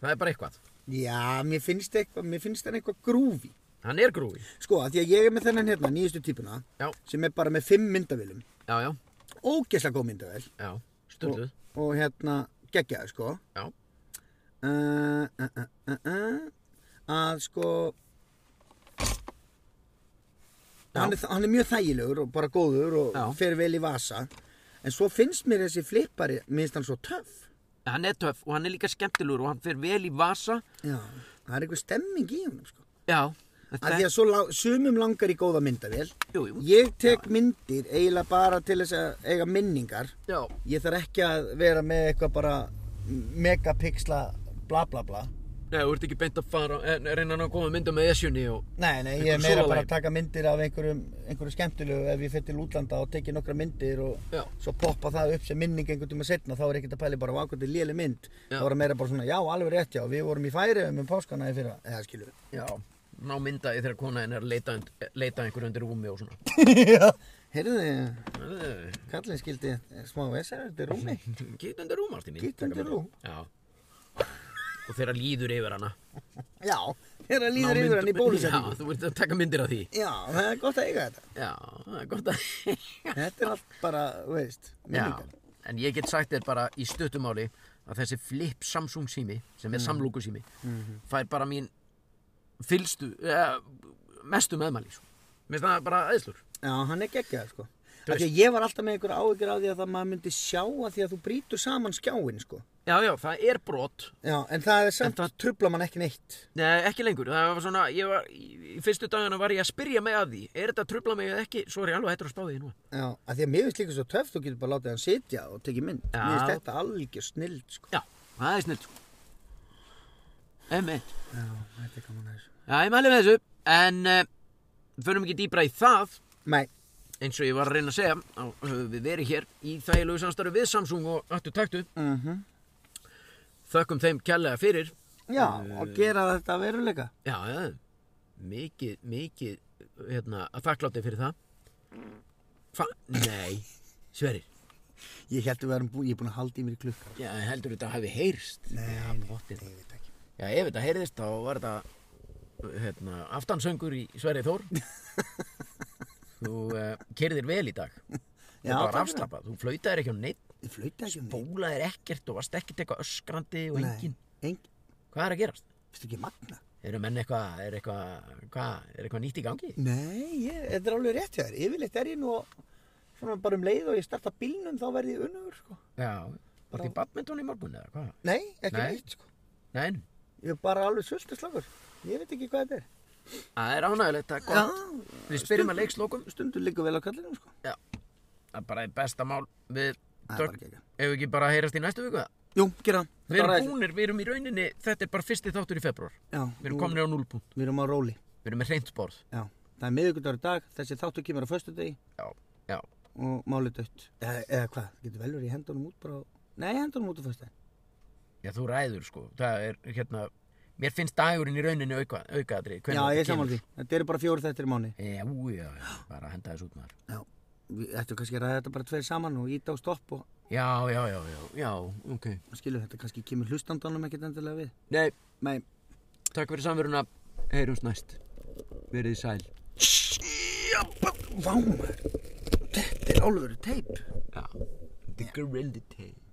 S1: Það er bara eitthvað.
S2: Já, mér finnst, eitthva, mér finnst hann eitthvað grúfi
S1: Hann er grúi.
S2: Sko, að því að ég er með þennan hérna, nýjustu típuna
S1: Já,
S2: sem er bara með fimm myndavélum
S1: já, já,
S2: Ógeðslega góð myndavél
S1: já.
S2: og,
S1: Sturluð.
S2: og hérna, geggjaði sko
S1: Já,
S2: uh, uh, uh, uh, uh, að sko
S1: Já.
S2: hann er, hann er mjög þægilegur og bara góður og
S1: Já.
S2: fer vel í vasa en svo finnst mér þessi flippari minnst hann svo töff
S1: hann er töff og hann er líka skemmtilegur og hann fer vel í vasa.
S2: Já. það er einhver stemming í honum sko.
S1: Já,
S2: að því að svo lá, sumum langar í góða myndavél
S1: Jú, jú.
S2: ég tek myndir eiginlega bara til þess að eiga minningar
S1: Já,
S2: ég þarf ekki að vera með eitthvað bara megapixla bla bla bla
S1: Nei, þú ert ekki beint að fara, eh, reyna að koma að mynda með esjunni og...
S2: Nei, nei, ég
S1: Einhverju
S2: er meira
S1: sólarlagi.
S2: bara að taka myndir af einhverjum, einhverju skemmtilegu ef ég fyrir til útlanda og tekið nokkra myndir og
S1: Já.
S2: svo poppa það upp sem minning einhvern tíma setna þá er ekkert að pæli bara ákvöldi léli mynd
S1: Já.
S2: þá er það meira bara svona, já, alveg rétt já við vorum í færi með páskana í fyrra eða skilur
S1: Já, ná myndaði þegar konaðin er að leita, und- leita einhver undir rúmi og svona.
S2: við Heyrðu,
S1: Eh,
S2: kallinn skildi eh, smá vesar undir rúmi
S1: Gít undir rúm, Martín.
S2: Gít undir rúm.
S1: Já. Og þegar líður yfir hana.
S2: Já, þegar
S1: ná
S2: líður
S1: mynd-
S2: yfir hann í
S1: Já,
S2: bólusetningu
S1: þú ert að taka myndir af því.
S2: Já, það er gott að eiga þetta
S1: Já, það er gott að...
S2: Þetta er allt bara, þú veist,
S1: Já,
S2: minningar
S1: en ég get sagt þér bara í stuttumáli að þessi flip Samsung sími, sem er mm. Mhm. samlúku sími, fær bara mín fylstu, eh, mestu meðmæli. svo. Mér finnst það bara aðeinslur.
S2: Já, hann er geggjað sko
S1: Þú
S2: Af því að ég var alltaf með einhverja áhyggjur af því að það maður myndi sjá að því að þú brýtur saman skjáin sko
S1: Já, já, það er brot
S2: Já, en það er samt,
S1: það-
S2: trubla mann ekki neitt
S1: Nei, ekki lengur, það var svona, ég var, í í fyrstu dagana var ég að spyrja mig að því, er þetta að trubla mig eða ekki, svo er ég alveg hættur að spá því nú.
S2: Já, af því að mér finnst líka svo töff, þú getur bara látið hann sitja og tekið mynd
S1: Já.
S2: Mér finnst þetta algjör snild sko
S1: Já, það er snill, sko. Emmett.
S2: Já, þetta er gaman að þessu
S1: Já, ég mæli með þessu, en uh, förum ekki dýbra í það,
S2: Nei,
S1: eins og ég var að reyna að segja, þá höfum við verið hér í þægilegu samstarfi við Samsung og Attu Taktu,
S2: mhm
S1: þökkum þeim kærlega fyrir.
S2: Já, og gera þetta að veruleika
S1: Já, já, mikið, mikið, hérna, að þakklátti fyrir það. Hva? Nei, sverir.
S2: Ég held að við erum búin, ég er búin að halda í mér í klukkar
S1: Já, heldur þetta hafi heyrst? Já,
S2: Nei,
S1: pottið.
S2: ég veit ekki
S1: Já, ef þetta heyrðist þá var þetta hérna, aftansöngur í Sverið Þór Þú uh, kerðir vel í dag Já, Þú var
S2: Já, takk fyrir.
S1: afslapað, þú flautaðir ekki á neitt
S2: Ég flauta ekki um neitt.
S1: bólaðir ekkert og varst ekkert eitthvað öskrandi og engin
S2: Nei, engin,
S1: Hvað er að gerast?
S2: finnst ekki magna
S1: Eru menn eitthvað, er eitthvað, hvað, er eitthvað nýtt í gangi?
S2: Nei, ég, þetta er alveg rétt hjá þér. Yfirleitt er ég nú svona bara um leið og ég starta bílnum þá verði ég unnugur, sko.
S1: Já, varst í badminton í morgun eða hvað?
S2: Nei, ekki
S1: Nei.
S2: neitt, sko.
S1: Nein,
S2: Ég er bara alveg sultislagur. Ég veit ekki hvað þetta er.
S1: það er ánægilegt, það er gott
S2: Já,
S1: Við spyrjum að leikslokum,
S2: stundur liggur vel á kallinum, sko.
S1: það er bara eitt besta mál við
S2: Það er
S1: tök,
S2: bara geggjað.
S1: ef ekki bara að heyrast í næstu viku það
S2: Jú, gera það.
S1: Við
S2: Bara
S1: erum
S2: þessu.
S1: búnir, við erum í rauninni, þetta er bara fyrsti þáttur í februar.
S2: Já,
S1: Við erum
S2: nú-
S1: komin á núlpunkt.
S2: Við erum á róli.
S1: Við erum með hreint borð.
S2: Já, það er miðugundagur dag, þessi þáttu kemur á föstudegi
S1: Já, já.
S2: og máli dött. Eða, eða hvað, getur vel verið í hendunum út bara á... Nei, hendunum út á föstudegi.
S1: Já, þú ræður sko. Það er hérna, mér finnst dagurinn í rauninni auka, aukaðri.
S2: Já, ég er saman því. Þetta eru bara fjóru þettir í mánu.
S1: Já, já, já, bara henda þessu út maður.
S2: Já, við ættum kannski að ræða þetta bara tveir saman og íta á stopp og
S1: Já, já, já, já, já, ok.
S2: skilur þetta kannski kemur hlustandanum ekkert endilega við
S1: Nei,
S2: Nei,
S1: takk fyrir samveruna. Heyrums næst. Verið sæl.
S2: vámar Þetta er álveru teip
S1: Já. The Gorilla Tape.